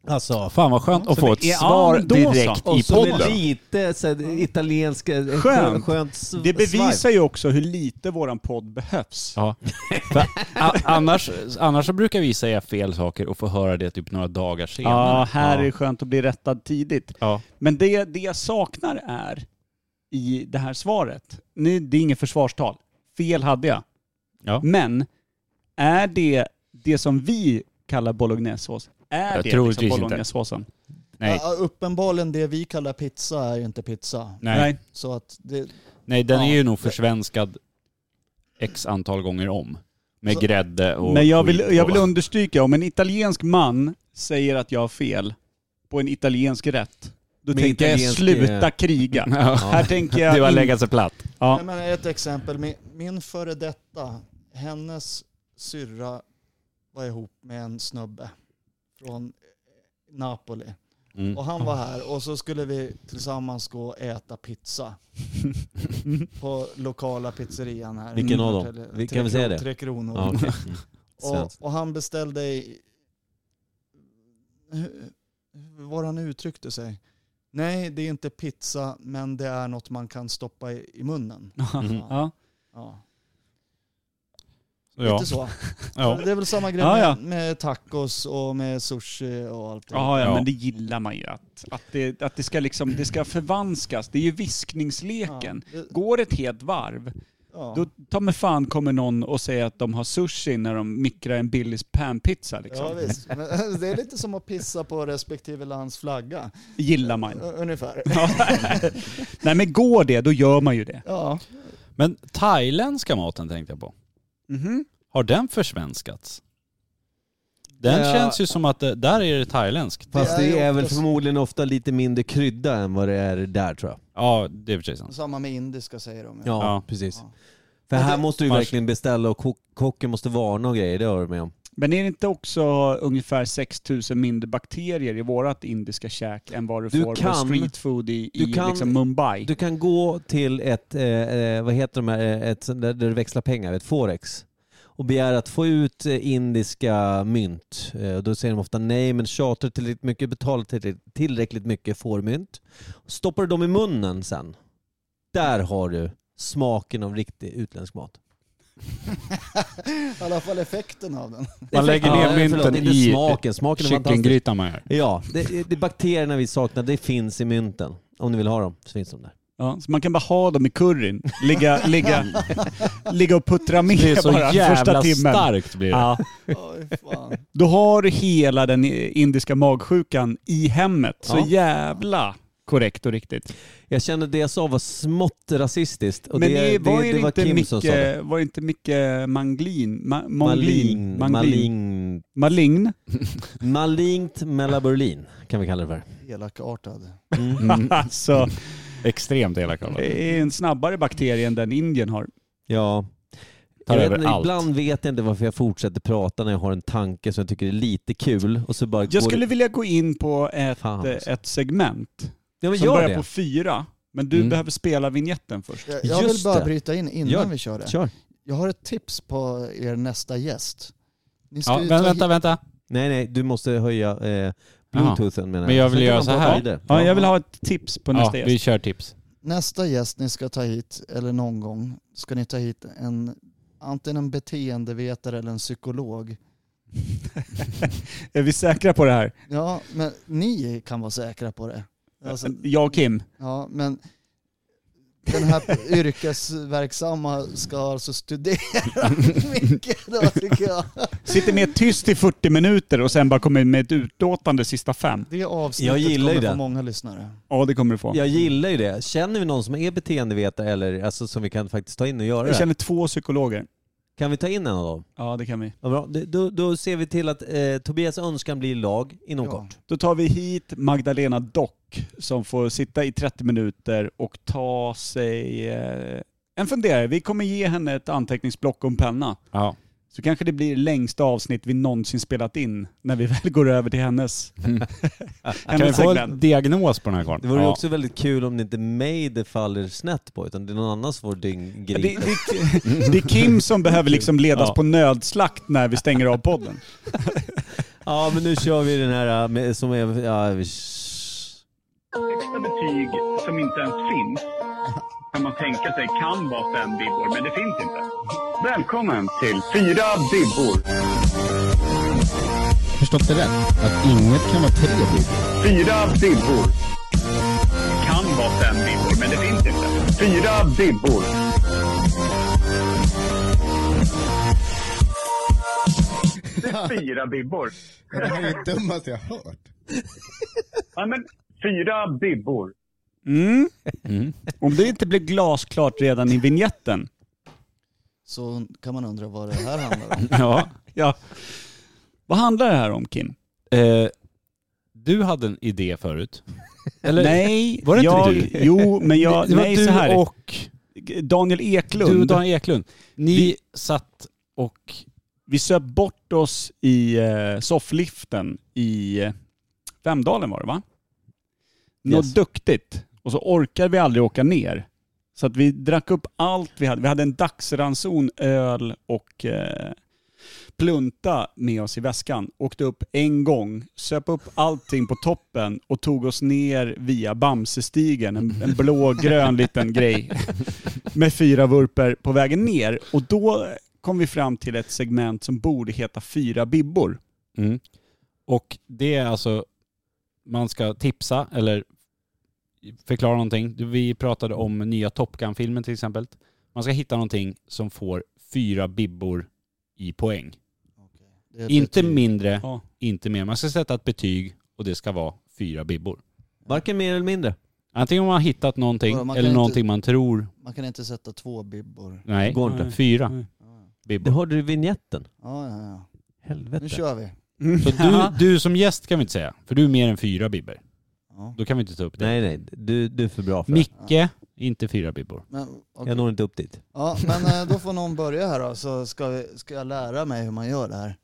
Alltså, Fan vad skönt att Så få det ett är- ja, svar men då så. direkt Och i så som är podden. lite så här, italiensk, eh, Skönt. skönt sv- Det bevisar svaj. ju också hur lite våran podd behövs. Ja. För, a, annars, annars så brukar vi säga fel saker och få höra det typ några dagar senare. Ja, här är ja. det skönt att bli rättad tidigt. Ja. Men det, det jag saknar är i det här svaret, nu, det är inget försvarstal, fel hade jag. Ja. Men är det det som vi kallar bolognesesås, är Jag det troligtvis liksom inte. bolognesesåsen? Nej. Ja, uppenbarligen det vi kallar pizza är ju inte pizza. Nej. Nej. Så att det, den Ja. är ju nog försvenskad x antal gånger om. Med Så- grädde och Men jag vill, skit jag vill och- understryka, om en italiensk man säger att jag har fel på en italiensk rätt, då Med tänker jag italiensk, sluta eh, kriga. Ja. Här tänker jag... Det var in- lägga sig platt. Ja. Jag menar ett exempel, min, min före detta, hennes syrra var ihop med en snubbe från Napoli. Mm. Och han var här och så skulle vi tillsammans gå och äta pizza. på lokala pizzerian här. Vilken av dem? Norrtälje. Vi- Tre kan vi säga kro- det? Tre kronor. Ja, okej. Mm. och, Svenskt. och han beställde i... Hur hur var det han uttryckte sig? Nej, det är inte pizza, men det är något man kan stoppa i, i munnen. Mm-hmm. Mhm. Ja. Ja. Ja. Lite så. Ja. Det är väl samma grej Ja, ja. Med, med tacos och med sushi och allt det Ja, ja, Ja. men det gillar man ju. Att, att, det, att det, ska liksom, det ska förvanskas. Det är ju viskningsleken. Ja, det- Går ett helt varv, ja. då ta mig fan kommer någon och säger att de har sushi när de mikrar en Billys panpizza. Liksom. Ja, visst. Men alltså, det är lite som att pissa på respektive lands flagga. gillar man. U- Ungefär. Ja. Nej men går det, då gör man ju det. Ja. Men thailändska maten tänkte jag på. Mhm. Har den försvenskats? Den Ja. känns ju som att det, där är det thailändskt. Fast Det är det ju är väl oftast- förmodligen ofta lite mindre krydda än vad det är där tror jag. Ja, det är i och för sig sant. Samma med indiska säger de. ju. Ja, Ja. precis. Ja. För Men här det- måste du ju Mars- verkligen beställa och kock, kocken måste varna och grejer, det har du med om. Men är det inte också ungefär 6000 mindre bakterier i vårat indiska käk än vad du, Du får på kan- street food i, du i kan- liksom Mumbai? Du kan gå till ett, eh, eh, vad heter de här, eh, ett, sånt där, där du växlar pengar, ett forex. Och begära att få ut eh, indiska mynt. Eh, och Då säger de ofta nej men tjatar tillräckligt mycket, betalar tillräck- tillräckligt mycket får mynt. Stoppar du dem i munnen sen, där har du smaken av riktig utländsk mat. I alla fall effekten av den. Man lägger Ja, ner förlåt, mynten inte i smaken, smaken är fantastisk. kycklinggrytan man gör. Ja, det, det bakterierna vi saknar, det finns i mynten. Om ni vill ha dem så finns de där. Ja, så man kan bara ha dem i curryn. Ligga, ligga, ligga och puttra med Det är så bara första jävla timmen. starkt blir det. Ja. Oj, fan. Då har du hela den indiska magsjukan i hemmet. Så Ja. jävla korrekt och riktigt. Jag kände det jag sa var smått rasistiskt. Och Men det, det, det, var, det, det, det var inte Kim Micke, som sa det. var det inte Micke Manglin? Ma, Manglin? Malin, Manglin? malin, Malin? malignt Melaburlin kan vi kalla det för. Mm. Elakartad. alltså, Extremt elak av dem. det är en snabbare bakterie än den Indien har. Ja. Tar Jag vet, över inte, allt. ibland vet jag inte varför jag fortsätter prata när jag har en tanke som jag tycker är lite kul och så bara Jag går skulle det... vilja gå in på ett, eh, Fan. ett segment Ja, men som gör börjar det. på fyra. Men du Mm. behöver spela vignetten först. Jag, jag vill Just bara det. bryta in innan Gör- vi kör det. Kör. Jag har ett tips på er nästa gäst. Ni ska Ja, ju men ta vänta, hit- vänta. Nej, nej, du måste höja eh, bluetoothen menar jag. Men jag vill kan göra man så bara här. gå vidare. Ja, jag vill ha ett tips på Ja, nästa vi gäst. kör tips. Nästa gäst ni ska ta hit, eller någon gång, ska ni ta hit en antingen en beteendevetare eller en psykolog. Är vi säkra på det här? Ja, men ni kan vara säkra på det. Alltså, Jag och Kim. Ja, men den här yrkesverksamma ska alltså studera mycket då tycker jag. Sitter med tyst i 40 minuter och sen bara kommer med ett utlåtande sista fem. Det avsnittet Jag gillar ju kommer få det. många lyssnare. Ja, det kommer du få. Jag gillar ju det. Känner vi någon som är beteendevetare eller alltså, som vi kan faktiskt ta in och göra det? Jag här? känner två psykologer. Kan vi ta in en av dem? Ja, det kan vi. Ja, bra. Det- Då, då ser vi till att eh, Tobias önskan blir lag inom Ja. kort. Då tar vi hit Magdalena Dock som får sitta i 30 minuter och ta sig eh, en funderare. Vi kommer ge henne ett anteckningsblock och en penna. Ja. Så kanske det blir längsta avsnitt vi någonsin spelat in när vi väl går över till hennes. Kan vi hennes få segment. en diagnos på den här Det karln? vore ju Ja. också väldigt kul om det inte är mig det faller snett på utan det är någon annan som får Det, dynggrip. det, det är Kim som behöver liksom ledas Ja. på nödslakt när vi stänger av podden. Ja men nu kör vi den här eh, med, som är... Ja, vi- Högsta betyg som inte ens finns kan man tänka sig kan vara fem bibbor, men det finns inte. Välkommen till Fyra bibbor. Förstått det rätt? Att inget kan vara tre bibbor? Fyra bibbor. Kan vara fem bibbor, men det finns inte. Fyra bibbor. Det är fyra bibbor. Det här är det dummaste jag har hört. Ja, men fyra bibbor. Mm. Mm. Om det inte blir glasklart redan i vignetten. Så kan man undra vad det här handlar om. Ja. Ja. Vad handlar det här om Kim? Eh, du hade en idé förut. Eller? Nej, Var det inte jag, du? Jo, men jag... det var nej, du så här. och Daniel Eklund. Du och Daniel Eklund. Ni Vi- satt och... Vi söp bort oss i eh, soffliften i eh, Vemdalen var det va? Något Yes. duktigt. Och så orkade vi aldrig åka ner. Så att vi drack upp allt vi hade. Vi hade en dagsranson öl och eh, plunta med oss i väskan. Åkte upp en gång, söp upp allting på toppen och tog oss ner via Bamsestigen. En, en blå-grön liten grej med fyra vurper på vägen ner. Och då kom vi fram till ett segment som borde heta Fyra bibbor. Mm. Och det är alltså... Man ska tipsa eller förklara någonting. Vi pratade om nya Top Gun-filmen till exempel. Man ska hitta någonting som får fyra bibbor i poäng. Det är typ ett Inte betyg. mindre, Ja. inte mer. Man ska sätta ett betyg och det ska vara fyra bibbor. Varken mer eller mindre. Antingen om man har hittat Ja, någonting man kan eller inte- någonting man tror. Man kan inte sätta två bibbor. Nej, Går inte. fyra Nej. Det bibbor. hörde du vignetten. Ja, ja, ja. Nu Helvete. kör vi. Så du, du som gäst kan vi inte säga, för du är mer än fyra bibbor. Ja. Då kan vi inte ta upp det. Nej nej, du, du är för bra för det. Micke, inte fyra bibbor. Men, okej. Jag når inte upp dit. ja, men eh, då får någon börja här då, så ska, vi, ska jag lära mig hur man gör det här.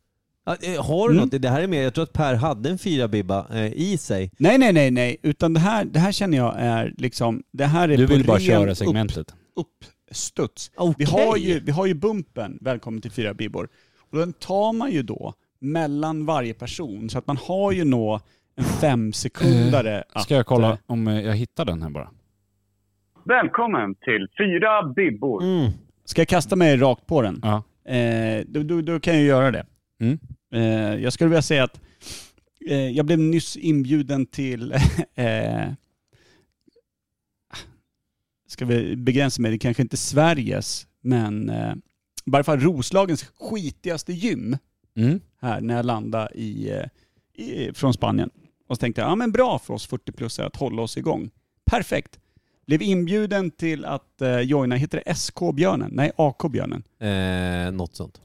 Ja, eh, Har Mm. du något? Det här är mer, jag tror att Per hade en fyra bibba eh, i sig. Nej, nej, nej, nej. Utan det här, det här känner jag är liksom... Det här är Du på vill bara ren köra segmentet. Upp, uppstuds. Okej. Vi, har ju, vi har ju bumpen, välkommen till Fyra bibbor. Och den tar man ju då mellan varje person. Så att man har ju nå en femsekundare att... Ska jag kolla om eh, jag hittar den här bara? Välkommen till Fyra bibbor. Mm. Ska jag kasta mig rakt på den? Ja. Eh, då, då, då kan jag göra det. Mm. Eh, jag skulle vilja säga att eh, jag blev nyss inbjuden till... Eh, ah, ska vi begränsa mig? Det kanske inte är Sveriges, men eh, i varje fall Roslagens skitigaste gym Mm. här när jag landade i, eh, i, från Spanien. Och så tänkte jag, ja men bra för oss 40-plussare att hålla oss igång. Perfekt. Blev inbjuden till att eh, joina, heter det SK Björnen? Nej, AK Björnen. Eh, något sånt.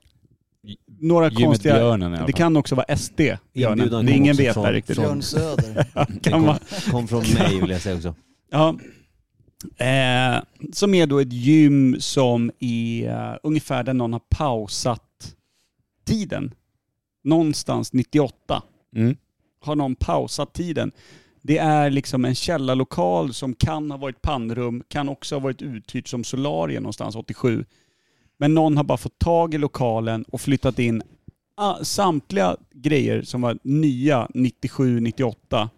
Några Gymmet konstiga... Björnen i alla Det fall. kan också vara SD Björnen. Inbjudan Det kom ingen också vet från- där riktigt. Björn Söder. Det Kan kom, vara- kom från mig vill jag säga också. Ja. Eh, som är då ett gym som är eh, ungefär där någon har pausat tiden. Någonstans 98 Mm. har någon pausat tiden. Det är liksom en källarlokal som kan ha varit pannrum, kan också ha varit uthyrt som solarie någonstans 87. Men någon har bara fått tag i lokalen och flyttat in ah, samtliga grejer som var nya 97, 98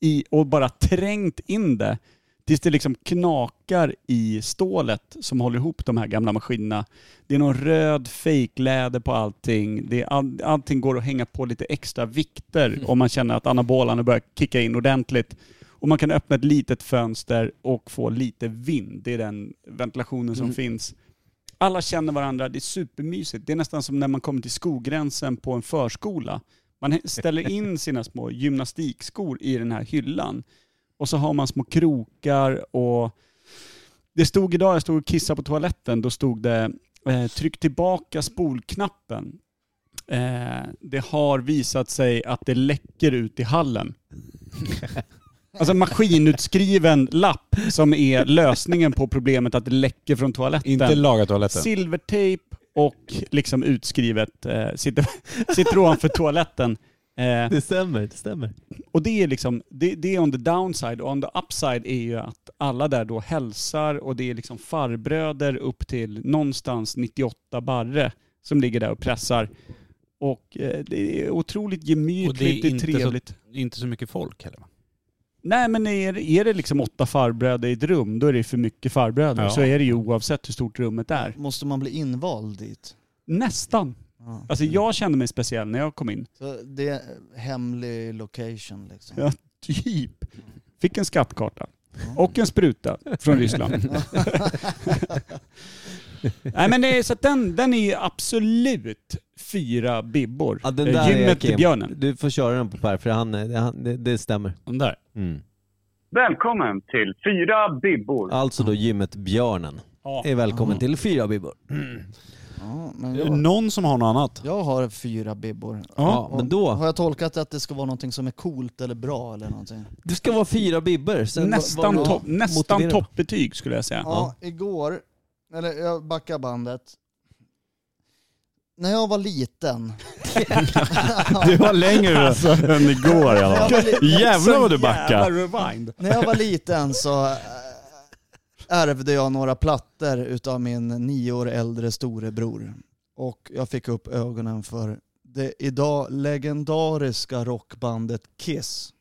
i, och bara trängt in det tills det liksom knakar i stålet som håller ihop de här gamla maskinerna. Det är någon röd fejkläder på allting. Det är all, allting går att hänga på lite extra vikter om man känner att anabolarna börjar kicka in ordentligt. Och man kan öppna ett litet fönster och få lite vind. Det är den ventilationen som finns. Alla känner varandra, det är supermysigt. Det är nästan som när man kommer till skogränsen på en förskola. Man he- ställer in sina små gymnastikskor i den här hyllan. Och så har man små krokar och... Det stod idag, jag stod och kissade på toaletten, då stod det eh, tryck tillbaka spolknappen. Eh, det har visat sig att det läcker ut i hallen. Alltså en maskinutskriven lapp som är lösningen på problemet att det läcker från toaletten. Inte laga toaletten. Silvertejp och liksom utskrivet eh, sitter, sitter ovanför toaletten. Eh, Det stämmer, det stämmer. och det är liksom, det, det är on the downside. Och on the upside är ju att alla där då hälsar och det är liksom farbröder upp till någonstans 98 barre som ligger där och pressar. Och eh, det är otroligt Och det är gemytligt, det är, inte så- trevligt. Inte så mycket folk heller. va? Nej men är, är det liksom åtta farbröder i ett rum, då är det för mycket farbröder. Ja. Så är det ju oavsett hur stort rummet är. Måste man bli invald dit? Nästan. Ja. Alltså jag kände mig speciell när jag kom in. Så det är hemlig location liksom. Ja, typ. Fick en skattkarta. Och en spruta från Ryssland. Nej men det är, så att den, den är ju absolut fyra bibbor. Ja, den Eh, där är Gymmet till Kim. björnen. Du får köra den på Per, för han, eh, han, det, det stämmer. Den där. Mm. Välkommen till Fyra Bibbor. Alltså då gymmet Björnen. Ja. Är välkommen till Fyra Bibbor. Ja, men Är det jag, Någon som har något annat? jag har fyra bibbor. Ja, Och men då. Har jag tolkat att det ska vara någonting som är coolt eller bra eller någonting? Det ska vara fyra bibbor. Sen Nästan, vad- vad- topp- nästan motivera. toppbetyg skulle jag säga. Ja, igår, eller jag backar bandet. När jag var liten. Du var längre Alltså. än igår i alla fall. Jävlar vad du backar. rewind. När jag var liten så eh, ärvde jag några plattor utav min nio år äldre storebror. Och jag fick upp ögonen för det idag legendariska rockbandet Kiss.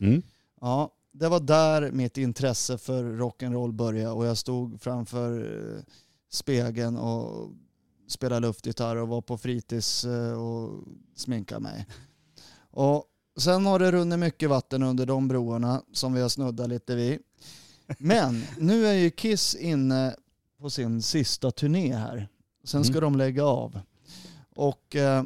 Mm. Ja, det var där mitt intresse för rock'n'roll började och jag stod framför eh, spegeln och spelade luftgitarr och var på fritids eh, och sminkade mig. Och sen har det runnit mycket vatten under de broarna som vi har snuddat lite vid. Men nu är ju Kiss inne på sin sista turné här. Sen ska de lägga av. Och eh,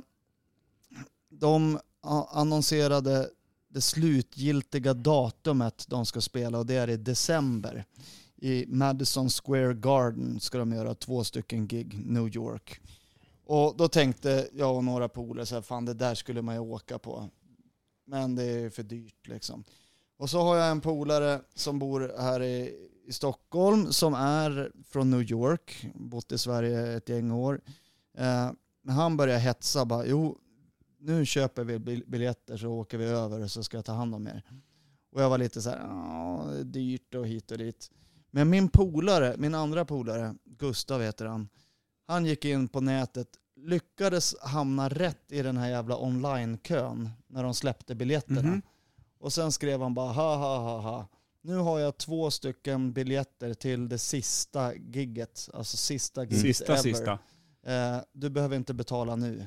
de a- annonserade det slutgiltiga datumet de ska spela och det är i december. I Madison Square Garden ska de göra två stycken gig, New York. Och då tänkte jag och några polare så här, fan det där skulle man ju åka på. Men det är för dyrt liksom. Och så har jag en polare som bor här i, i Stockholm som är från New York, bott i Sverige ett gäng år. Eh, men han börjar hetsa bara, jo nu köper vi bil- biljetter så åker vi över och så ska jag ta hand om er. Och jag var lite så här, "Ja, det är dyrt och hit och dit. Men min polare, min andra polare, Gustav heter han, han gick in på nätet, lyckades hamna rätt i den här jävla online-kön när de släppte biljetterna. Och sen skrev han bara ha ha ha ha. Nu har jag två stycken biljetter till det sista gigget, alltså sista Mm. gigget Sista, ever. sista. Eh, du behöver inte betala nu.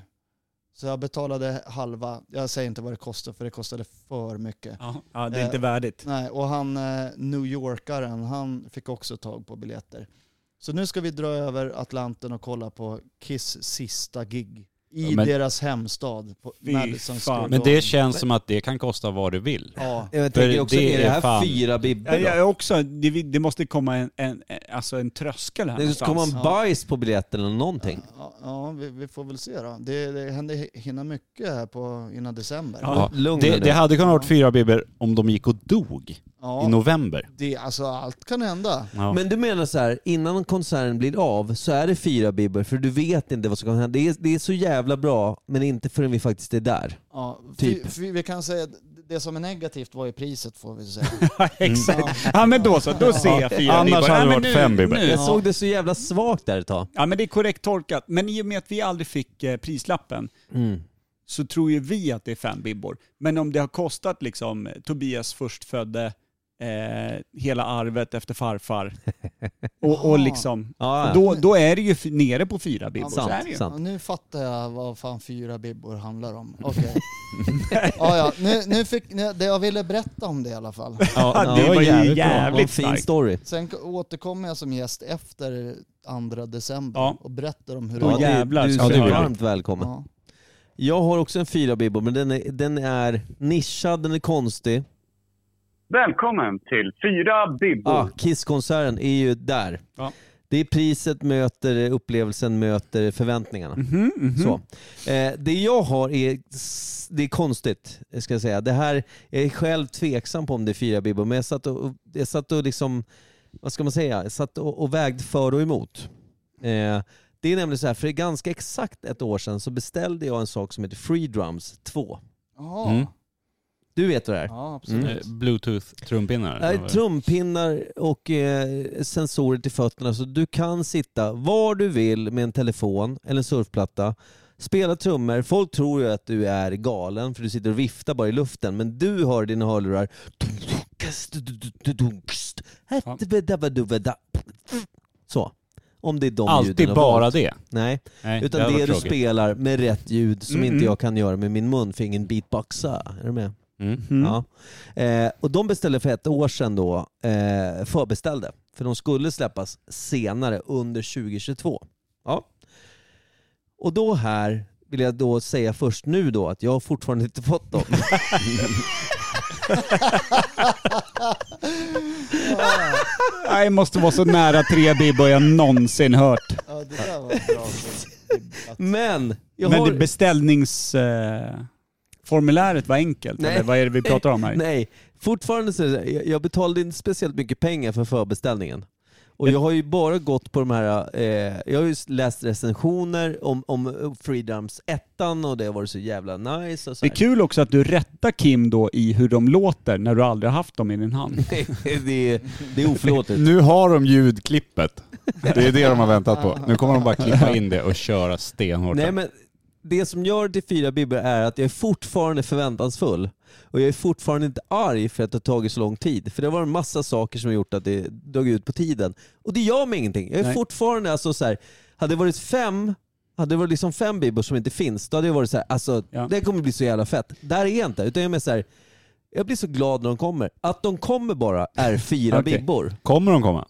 Så jag betalade halva, jag säger inte vad det kostade för det kostade för mycket. Ja, ja, det är inte Eh, värdigt. Nej, och han eh, New Yorkaren, han fick också tag på biljetter. Så nu ska vi dra över Atlanten och kolla på Kiss sista gig i Ja, men- deras hemstad på Fy Madison fan. Square Men Garden. det känns som att det kan kosta vad du vill. Ja, Jag För tänker också, det är det är här fan- fyra bibbor Ja, då? jag är också, det, vi- det måste komma en, en, en- alltså en tröskel här Det ska komma en bajs på biljetten eller någonting. ja, ja vi, vi får väl se då. Det, det händer hinna mycket här på, innan december. Ja. Ja. Lugn Det, nu. det hade kunnat varit fyra bibbor om de gick och dog Ja, i november. det, alltså allt kan hända. Ja. Men du menar så här, innan konserten blir av så är det fyra bibbor för du vet inte vad som kommer hända. Det är, det är så jävla bra men inte förrän vi faktiskt är där. Ja, Typ. fy, fy, vi kan säga att det som är negativt var ju priset får vi säga. Ja, Mm. exakt. Ja men då så, då ser jag fyra Annars hade bibbor. det Ja, men varit nu- fem bibbor. nu. Jag såg det så jävla svagt där ett tag. Ja men det är korrekt tolkat. Men i och med att vi aldrig fick eh, prislappen Mm. så tror ju vi att det är fem bibbor. Men om det har kostat liksom Tobias förstfödde eh, hela arvet efter farfar och, och liksom, Ja, ja. då, då är det ju f- nere på fyra bibbor. Sant, så är det ju. sant. Ja, nu fattar jag vad fan fyra bibbor handlar om. Okej. ja, ja, nu, nu fick, nu, det jag ville berätta om det i alla fall. Ja, det var ju jävligt bra. Det var en jävligt fin starkt. story. Sen k- återkommer jag som gäst efter andra december Ja. och berättar om hur Då det Ja, var. det- jävlar Du ska vi är ha. varmt välkommen. Ja. Jag har också en fyra bibbor men den är, den är nischad, den är konstig. Välkommen till Fyra Bibbor. Ah, Kisskonserten är Ah, ju där. Ja. Det är priset möter upplevelsen möter förväntningarna. Så. Eh, det jag har är, det är konstigt, ska jag säga. Det här, jag är själv tveksam på om det är fyra bibbor, men jag satt och, jag satt och liksom, vad ska man säga, jag satt och, och vägde för och emot. Eh, det är nämligen så här, för ganska exakt ett år sedan så beställde jag en sak som heter Free Drums 2. Jaha. Mm. Du vet vad det är? Ja, absolut. Mm. Eh, Bluetooth-trumpinnar? Nej, eller vad? trumpinnar och eh, sensorer till fötterna så du kan sitta var du vill med en telefon eller en surfplatta, spela trummor. Folk tror ju att du är galen för du sitter och viftar bara i luften men du har dina hörlurar. Så. Om det är de ljuden Alltid du har bara valt. det? Nej, Nej, utan hade det, varit du tråkigt. spelar med rätt ljud som Mm, inte mm. jag kan göra med min mun för ingen beatboxa. Är du med? Mm. Mm. Ja. Eh, och de beställde för ett år sedan då, eh, förbeställde. För de skulle släppas senare under 2022. Ja. Och då här vill jag då säga först nu då att jag har fortfarande inte fått dem. Nej, måste vara så nära tre bibbor jag någonsin hört. Ja, det där var bra. Men jag Men har... det beställningsformuläret eh, formuläret var enkelt, Nej. eller vad är det vi pratar om här? Nej, fortfarande så är det, så här, jag- jag betalade inte speciellt mycket pengar för förbeställningen. Och jag har ju bara gått på de här, eh, jag har ju läst recensioner om, om Freedoms ettan och det har varit så jävla nice och så Det är här. kul också att du rättar Kim då i hur de låter när du aldrig har haft dem i din hand. det, är, det är oförlåtligt. Nu har de ljudklippet. Det är det de har väntat på. Nu kommer de bara klippa in det och köra stenhårt. Nej men det som gör det till fyra bibbor är att jag är fortfarande förväntansfull. Och jag är fortfarande inte arg för att det har tagit så lång tid. För det var en massa saker som har gjort att det drog ut på tiden. Och det gör mig ingenting. Jag är Nej. fortfarande alltså så här, hade det varit fem hade det varit liksom fem bibbor som inte finns, då hade jag varit så här, alltså Ja. det kommer bli så jävla fett. Där är jag inte, utan jag är mer så här, jag blir så glad när de kommer. Att de kommer bara är fyra Okej. bibbor. Kommer de komma?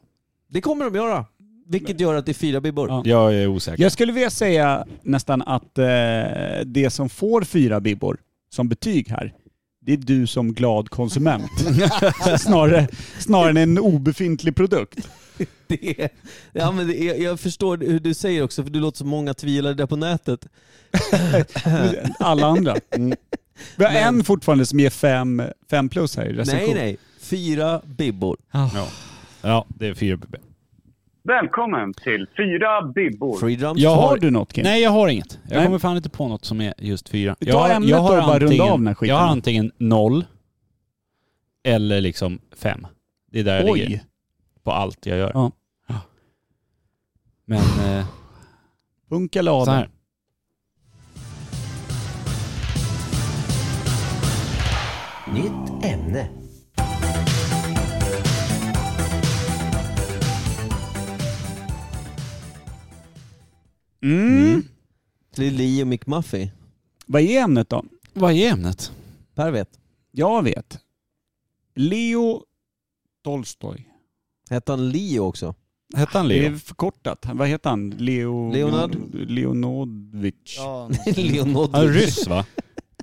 Det kommer de göra. Vilket gör att det är fyra bibbor. Ja. Jag är osäker. Jag skulle vilja säga nästan att eh, det som får fyra bibbor som betyg här, det är du som glad konsument. snarare, snarare än en obefintlig produkt. Det är, ja, men det är, jag förstår hur du säger också, för du låter som många tvivlare där på nätet. Alla andra. Vi har Mm. Men- en fortfarande som ger fem, fem plus här i recension. Nej, nej. Fyra bibbor. Ja. ja, det är fyra BB. Välkommen till Fyra bibbor. Free drums. Jag Har har- du något Kim? Nej, jag har inget. Jag Nej. kommer fan inte på något som är just fyra. Ta Jag, har- ämnet jag har då och bara runda antingen- av den här skiten. Jag har antingen noll eller liksom fem. Det är där jag ligger. Oj, På allt jag gör. Ja. Ja. Men eh, punk eller så Adam? här. Nytt ämne. Mm. Det är Li och Mick Muffy. Vad är ämnet då? Vad är ämnet? Per vet. Jag vet. Leo Tolstoj. Hette han Li också? Hette han Det Leo? är förkortat. Vad heter han? Leo... Leonard? Leonardovich. Ja, Leonod. Han är ryss va?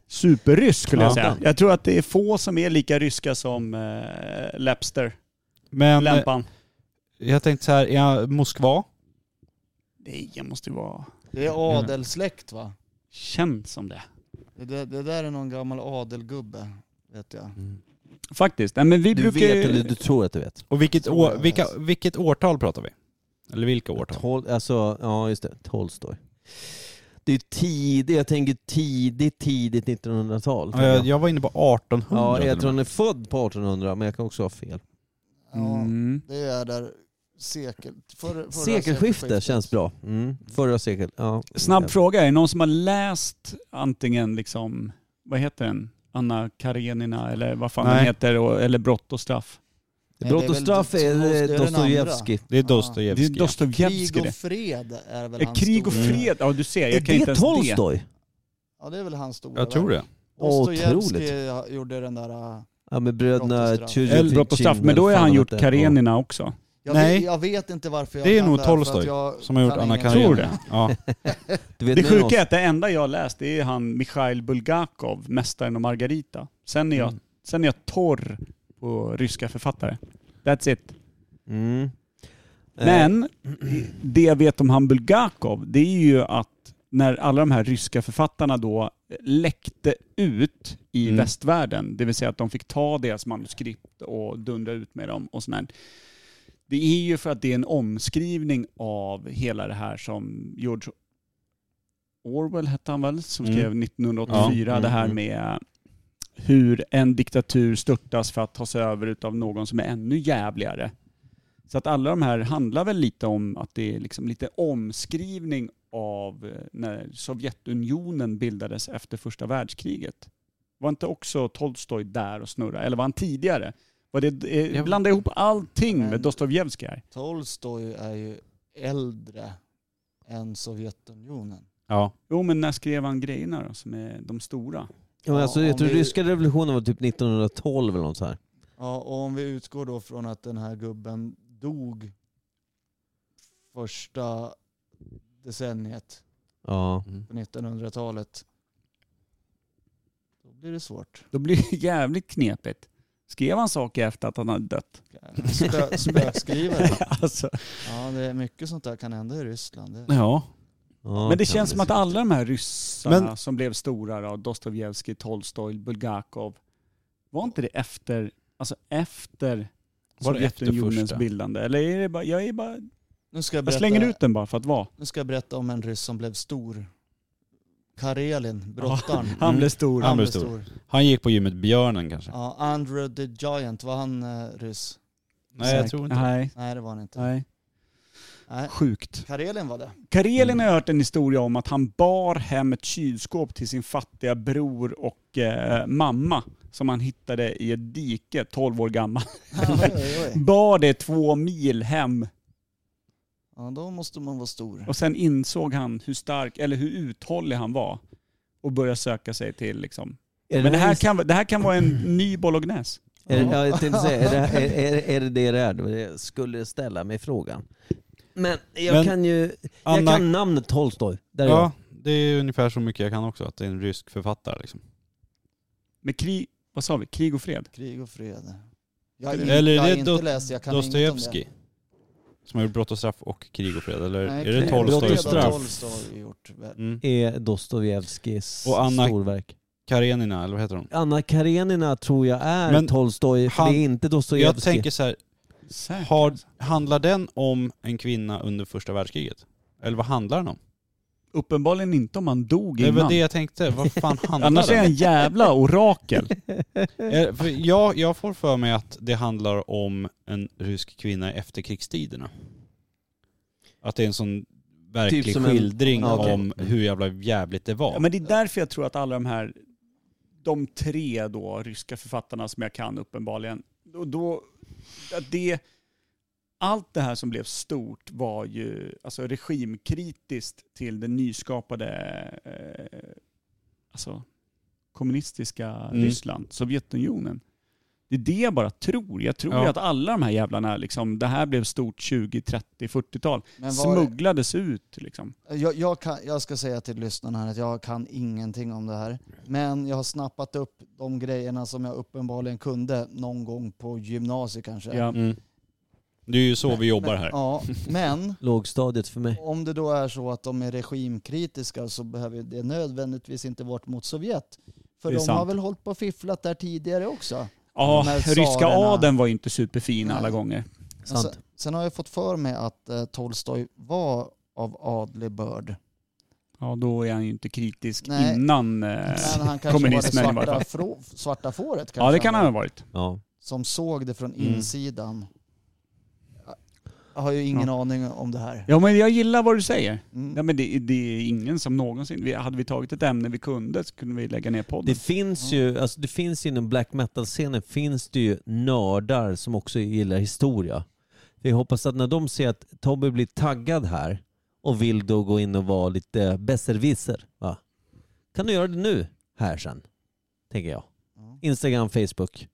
Superrysk skulle jag Ja. säga. Jag tror att det är få som är lika ryska som eh, Lapster. Men eh, Lämpan. jag tänkte så här, är han Moskva? Nej, jag måste ju vara... det är adelsläkt va? Känns som det. Det, där- det där är någon gammal adelgubbe, vet jag. Faktiskt. Nej, men vi Du brukar... vet eller du tror att du vet. Och vilket, Så år, är det. vilka, vilket årtal pratar vi? Eller vilka årtal? Tol, alltså, ja just det. Tolstoj. Det är tidigt, jag tänker tidigt, tidigt 1900-tal. Ja, Eh, Jag, jag var inne på 1800 ja, till och jag med. tror han är född på 1800 men jag kan också ha fel. Ja, Mm. det är där sekel... För, förra Sekelskifte känns bra. Mm. Förra sekel. Ja. Snabb fråga. Är det någon som har läst antingen liksom... Vad heter den? Anna Karenina eller vad fan Nej. den heter. och- Eller Brott och straff. Nej, Brott det och är väl straff Dost- Dost- det är är eh, den Dostojevskij. Det är Det är Dostojevskij. Dostojevskij Krig det. och fred är väl Eh, hans Krig och Mm. stora- fred. Ja du ser, jag Är kan inte det ens det. Tolstoj? Ja, det är väl hans stora Jag tror verk. det. Otroligt. Dostojevskij gjorde den där... äh, Ja men Brott och bröderna straff. Eller brott och straff. Men då har han gjort Karenina också. Jag, Nej. Vet, jag vet inte varför jag Det är kan nog här, för Tolstoj att jag Som har gjort kan Anna ingen- Karenina. Tror det? Ja. Det Mm. sjuka Eh, är att det enda jag har läst det är han Mikhail Bulgakov, Mästaren och Margarita. Sen är jag, sen är jag torr på ryska författare. That's it. Mm. Eh, Men det jag vet om han Bulgakov, det är ju att när alla de här ryska författarna då läckte ut i Mm. västvärlden, det vill säga att de fick ta deras manuskript och dundra ut med dem och sådär. Det är ju för att det är en omskrivning av hela det här som George Orwell hette han väl, som Mm. skrev 1984, Ja. Mm, det här mm. med hur en diktatur störtas för att tas över av någon som är ännu jävligare. Så att alla de här handlar väl lite om att det är liksom lite omskrivning av eh, när Sovjetunionen bildades efter första världskriget. Var inte också Tolstoj där och snurra? Eller var han tidigare? Var det, eh, Jag- blanda ihop allting med Men- Dostojevskij här. Tolstoj är ju äldre än Sovjetunionen. Ja. Jo, men när skrev han grejerna då, som är de stora? Ja, men alltså, Ja, jag om tror vi- ryska revolutionen var typ 1912 eller något så här. Ja, och om vi utgår då från att den här gubben dog första decenniet Ja. på 1900-talet. Då blir det svårt. Då blir det jävligt knepigt. Skrev han saker efter att han hade dött? Spö, spökskrivare. alltså, Ja, det är mycket sånt där kan hända i Ryssland. Det. ja. Ja, Men det kan känns som att säkert. alla de här ryssarna Men- som blev stora då, Dostojevskij, Tolstoj, Bulgakov, var inte det efter, alltså efter Var det efter Sovjetunionens första? bildande? Eller är det bara, jag är bara, Nu ska jag, jag berätta, slänger ut den bara för att vara. nu ska jag berätta om en ryss som blev stor. Karelin, brottaren. Mm. Han blev stor. Mm. Han blev stor. Han gick på gymmet Björnen kanske? Ja, Andrew the Giant, var han eh, ryss? Nej jag tror inte det. Nej, Nej, det var han inte. nej. Nej. Sjukt. Karelin var det. Karelin har jag hört en historia om att han bar hem ett kylskåp till sin fattiga bror och eh, mamma som han hittade i ett dike, 12 år gammal. oj, oj, oj. Bar det två mil hem Ja, då måste man vara stor. Och sen insåg han hur stark, eller hur uthållig han var. Och började söka sig till liksom. Är det Men det här där- kan, det här kan vara en ny Bolognese. Är, det- ja, jag tänkte säga, är, det, är, är, är det det det är? Det var det Jag skulle ställa mig frågan. Men jag Men- kan ju... Anna- Jag kan namnet Tolstoj. Där är Ja, det är ungefär så mycket jag kan också, att det är en rysk författare liksom. Med krig, vad sa vi? Krig och fred? Krig och fred. Jag, Eller jag, är jag har det inte Do- läst, jag kan Dostojevskij? Som har gjort Brott och straff och Krig och fred, eller inget om det. Nej, är det Krig och Tolstoj och fred har straff? Tolstoj gjort väl. Mm. jag. Är Dostojevskijs Och Anna- storverk. Karenina, eller vad heter hon? Anna Karenina tror jag är Men Tolstoj, för han- det är inte Jag Dostojevskij. tänker så här, Säkert. har, handlar den om en kvinna under första världskriget? Eller vad handlar den om? Uppenbarligen inte om han dog Det var innan. det jag tänkte, vad fan handlar Annars är den han en jävla orakel. om? Eh, För jag, jag får för mig att det handlar om en rysk kvinna i efterkrigstiderna. Att det är en sån verklig Typ som en- skildring Ja, okej. om hur jävla jävligt det var. Ja, men det är därför jag tror att alla de här, de tre då ryska författarna som jag kan uppenbarligen, och då, att det, allt det här som blev stort var ju alltså, regimkritiskt till den nyskapade eh, alltså, kommunistiska Mm. Ryssland, Sovjetunionen. Det är det jag bara tror. Jag tror Ja. ju att alla de här jävlarna, liksom, det här blev stort 20, 30, 40-tal. Men var, Smugglades ut liksom. jag, jag, kan, jag ska säga till lyssnarna här att jag kan ingenting om det här. Men jag har snappat upp de grejerna som jag uppenbarligen kunde någon gång på gymnasiet kanske. Ja. Mm. Det är ju så vi jobbar här. Ja, men Lågstadiet för mig. om det då är så att de är regimkritiska så behöver det nödvändigtvis inte varit mot Sovjet. För Det är de har sant. väl hållit på och fifflat där tidigare också. Ja, De här ryska tsarerna. adeln var ju inte superfin alla Nej. gånger. Men Sant. sen- sen har jag fått för mig att eh, Tolstoj var av adlig Eh, börd. Ja, då är han ju inte kritisk Nej. innan... Eh, Men han kanske var det kommunismen i varje svarta, fall. frå, svarta fåret kanske ja, det kan han var, ha varit. Ja. Som såg det från Mm. insidan. Jag har ju ingen aning om det här. Ja, men jag gillar vad du säger. Mm. Ja, men det, det är ingen som någonsin... Vi, hade vi tagit ett ämne vi kunde så kunde vi lägga ner podden. Det finns ju, alltså det finns inom black metal-scenen finns det ju nördar som också gillar historia. Vi hoppas att när de ser att Tobbe blir taggad här och vill då gå in och vara lite besserwisser, va? Kan du göra det nu, här sen? Tänker jag. Instagram, Facebook.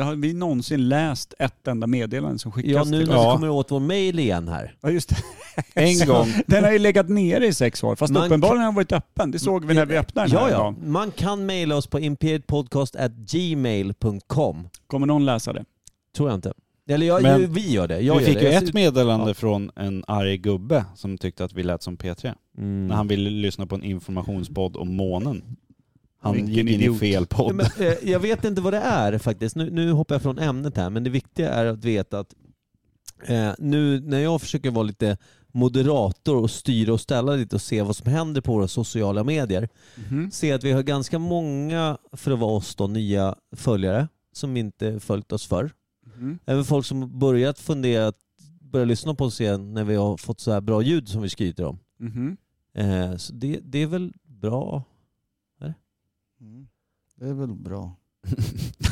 Har vi någonsin läst ett enda meddelande som skickas Ja, nu till när oss? vi Ja. kommer åt vår mail igen här. Ja, just det. En gång. Den har ju legat nere i sex år, fast Man uppenbarligen har den varit öppen. Det såg vi när vi öppnade den Ja, här ja. dagen. Man kan mejla oss på imperiedpodcast@gmail.com. Kommer någon läsa det? Tror jag inte. Eller jag, Men ju, vi gör det. Jag vi gör fick det. ju Jag- ett meddelande från en arg gubbe som tyckte att vi lät som P3. Mm. När han ville lyssna på en informationspodd om månen. Han Vilken gick in idiot. i fel podd. Nej, Men, eh, jag vet inte vad det är faktiskt. Nu, nu hoppar jag från ämnet här, men det viktiga är att veta att eh, nu när jag försöker vara lite moderator och styra och ställa lite och se vad som händer på våra sociala medier, Mhm. ser jag att vi har ganska många, för att vara oss då, nya följare som inte följt oss förr. Mhm. Även folk som börjat fundera, börjat lyssna på oss igen när vi har fått så här bra ljud som vi skryter om. Mhm. Eh, så det, det är väl bra. Mm. Det är väl bra.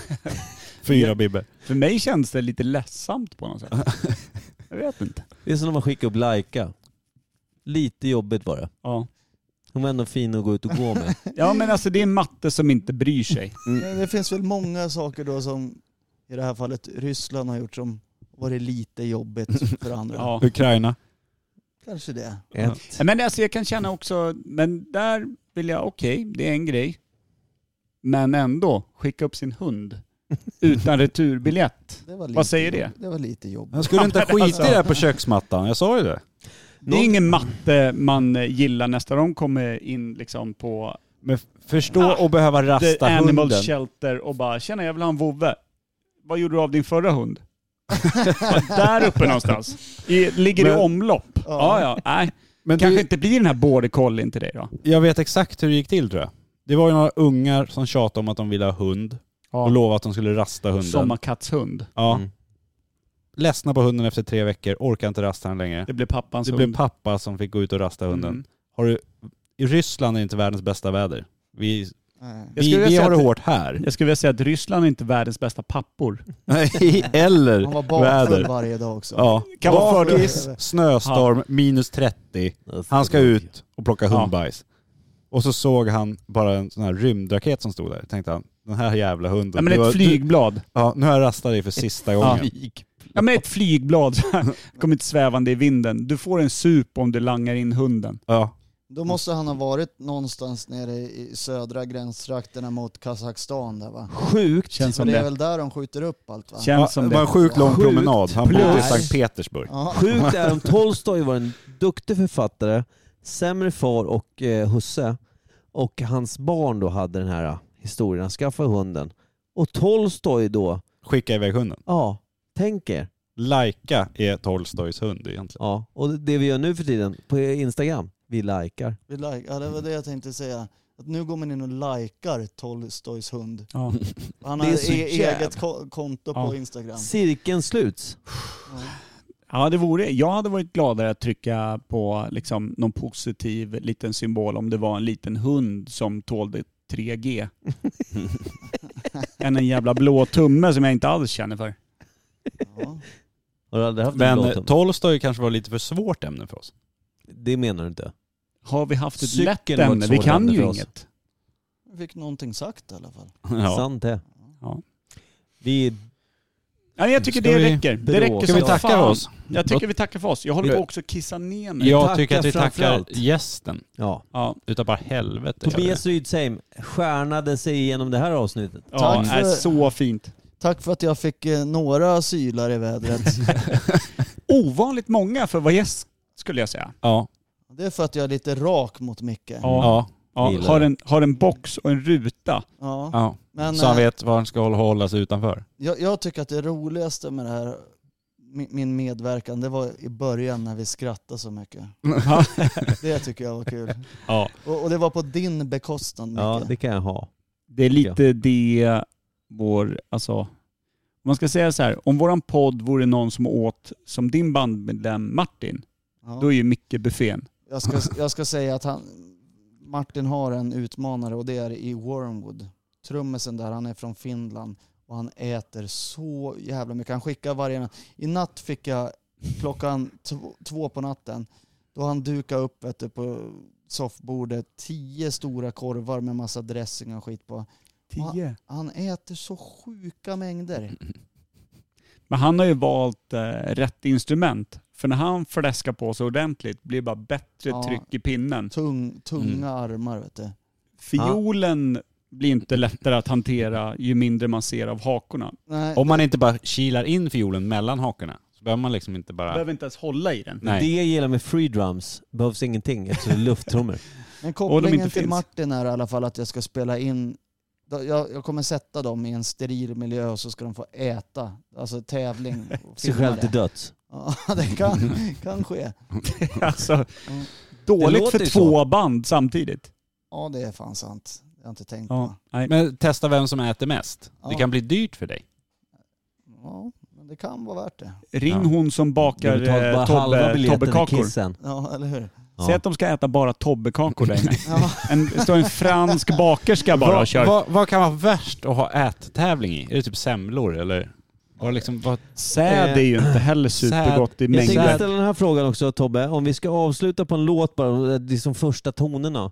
Fyra Bibbe. För mig känns det lite ledsamt på något sätt. Jag vet inte. Det är som när man skickar upp Laika. Lite jobbigt var det. Ja. Hon var ändå fin att gå ut och gå med. Ja men alltså det är matte som inte bryr sig. Men Det finns väl många saker då som i det här fallet Ryssland har gjort som varit lite jobbigt för andra. Ja. Ukraina. Kanske det. Ett. Men alltså jag kan känna också, men där vill jag, okej det är en grej. Men ändå, skicka upp sin hund utan returbiljett. det var lite Vad säger det? jobb- Det var lite jobbigt. Han skulle inte ha skitit i det här på köksmattan, jag sa ju det. Det är ingen matte man eh, gillar nästa de kommer in liksom på Men förstå och behöva the rasta animal hunden. shelter och bara “tjena jag vill ha en vovve”. Vad gjorde du av din förra hund? Var där uppe någonstans. I, ligger i Men- omlopp. Ja, ja. Nej. Men Kanske du- inte blir den här border collien till dig då. Jag vet exakt hur det gick till tror jag. Det var ju några ungar som tjatade om att de ville ha hund och lovade att de skulle rasta hunden. Sommarkattshund. Ja. Mm. Ledsna på hunden efter tre veckor, orkar inte rasta den längre. Det blev pappans Det hund. blev pappa som fick gå ut och rasta hunden. Mm. Har du, I Ryssland är inte världens bästa väder. Vi, Nej. Jag vi, skulle vi säga har det att- hårt här. Jag skulle vilja säga att Ryssland är inte världens bästa pappor. Eller Han var bakfull väder. varje dag också. Ja. Kan vara fördel. Bakis, snöstorm, minus 30. Han ska ut och plocka Ja. hundbajs. Och så såg han bara en sån här rymdraket som stod där. Tänkte han, den här jävla hunden. Ja, men Du har- ett flygblad. Ja, nu har jag rastat dig för sista Ja. gången. Ja, men ett flygblad. Kom inte svävande i vinden. Du får en sup om du langar in hunden. Ja. Då måste han ha varit någonstans nere i södra gränstrakterna mot Kazakstan där va? Sjukt. Känns För som det är det. väl där de skjuter upp allt va? Ja, Känns som det var en det. sjukt lång Sjukt promenad. Han bodde i plus- Sankt Petersburg. Ja. Sjukt är om Tolstoj var en duktig författare, sämre far och eh, husse. Och hans barn då hade den här eh, historien, han skaffade hunden. Och Tolstoj då, Skicka iväg hunden. ja, tänker. Laika är Tolstojs hund egentligen. Ja, och det vi gör nu för tiden på Instagram, vi likar. Vi like- ja, det var det jag tänkte säga. Att nu går man in och likar Tolstojs hund. Ja. Han Det har är så e- jävla- eget ko- konto Ja. på Instagram. Cirkeln sluts. ja, det vore Jag hade varit gladare att trycka på liksom, någon positiv liten symbol om det var en liten hund som tålde 3G. Än en jävla blå tumme som jag inte alls känner för. Ja. Har du aldrig haft en blå Men tum? Tolstoj kanske var lite för svårt ämne för oss. Det menar du inte? Har vi haft ett Cykeln lätt var ett ämne? Vi svårt kan ämne ju för oss. inget. Vi Fick någonting sagt i alla fall. Sant det. Ja. Vi, Ja, jag tycker Ska det vi- räcker. Det Bra. räcker Ska Ska vi som tacka fan. oss? Jag tycker vi tackar för oss. Jag håller Vi- på också att kissa ner mig. Ja. Jag tackar tycker att vi tackar framförallt. gästen. ja. Ja. Utav bara helvete. Tobias Rydsheim stjärnade sig igenom det här avsnittet. Ja, Tack är för- så fint. Tack för att jag fick eh, några sylar i vädret. Ovanligt många för att vara gäst skulle jag säga. Ja. Det är för att jag är lite rak mot Micke. Ja. Ja, Gillar har, det. en, har en box och en ruta. Ja. ja. Men Så han eh, vet var han ska hålla- hålla sig utanför. jag, jag tycker att det roligaste med det här, mi- min medverkan, det var i början när vi skrattade så mycket. det tycker jag var kul. Ja. Och, och det var på din bekostnad Micke. Ja, det kan jag ha. Det är lite det vår, alltså, om man ska säga så här, om våran podd vore någon som åt som din bandmedlem Martin, Ja. då är ju Micke buffén. jag, ska, jag ska säga att han, Martin har en utmanare och det är i Wormwood. Trummisen där, han är från Finland och han äter så jävla mycket. Han skickar varje natt. I natt fick jag klockan tv- två på natten, då han duka upp vet du, på soffbordet tio stora korvar med massa dressing och skit på. Tio. Han äter så sjuka mängder. Men han har ju valt eh, rätt instrument. För när han fläskar på sig ordentligt blir det bara bättre Ja. tryck i pinnen. Tung, tunga armar vet du. Fiolen blir inte lättare att hantera ju mindre man ser av hakorna. Nej. Om man inte bara kilar in fiolen mellan hakorna så behöver man liksom inte bara... Behöver inte ens hålla i den. Nej. Det jag gillar med free drums, behövs ingenting eftersom det är lufttrummor. Men Och de kopplingen inte till finns. Martin är i alla fall att jag ska spela in, då- jag, jag kommer sätta dem i en steril miljö och så ska de få äta, alltså tävling. och Sig filma själv det. till döds. Ja, det kan, kan ske. Alltså, Mm. Det dåligt låter för ju två band samtidigt. Ja, det är fan sant. Det har jag inte tänkt på. Ja, nej. Men testa vem som äter mest. Det Ja. kan bli dyrt för dig. Ja, men det kan vara värt det. Ring Ja. hon som bakar Du betalar bara eh, halva tobbe, biljetten i Tobbekakor. kissen. Ja, eller hur? Ja. Säg att de ska äta bara Tobbekakor där inne. Ja. En, står en fransk bakerska bara och vad, kör. vad, vad kan vara värst att ha ättävling i? Är det typ semlor eller? Vad liksom, vad, Eh, Säd är ju inte heller supergott i Säd- Jag tänkte mängder. ställa den här frågan också Tobbe, om vi ska avsluta på en låt bara, de som första tonerna.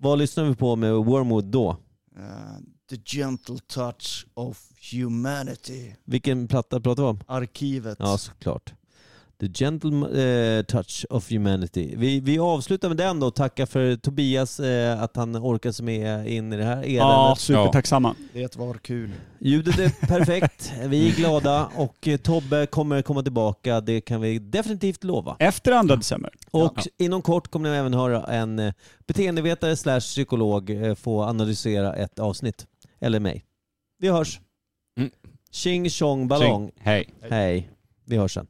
Vad lyssnar vi på med Wormwood då? Eh, the gentle touch of humanity. Vilken platta pratar vi om? Arkivet. Ja, såklart. The gentle eh, touch of humanity. Vi, vi avslutar med den då och tackar för Tobias eh, att han orkade sig med in i det här eländet. Ja, supertacksamma. Det var kul. Ljudet är perfekt, vi är glada och eh, Tobbe kommer komma tillbaka, det kan vi definitivt lova. Efter andra december. Och inom kort kommer ni även höra en eh, beteendevetare slash psykolog eh, få analysera ett avsnitt. Eller mig. Vi hörs. Mm. Tjing tjong ballong. Tjing. Hej. Hej. Vi hörs sen.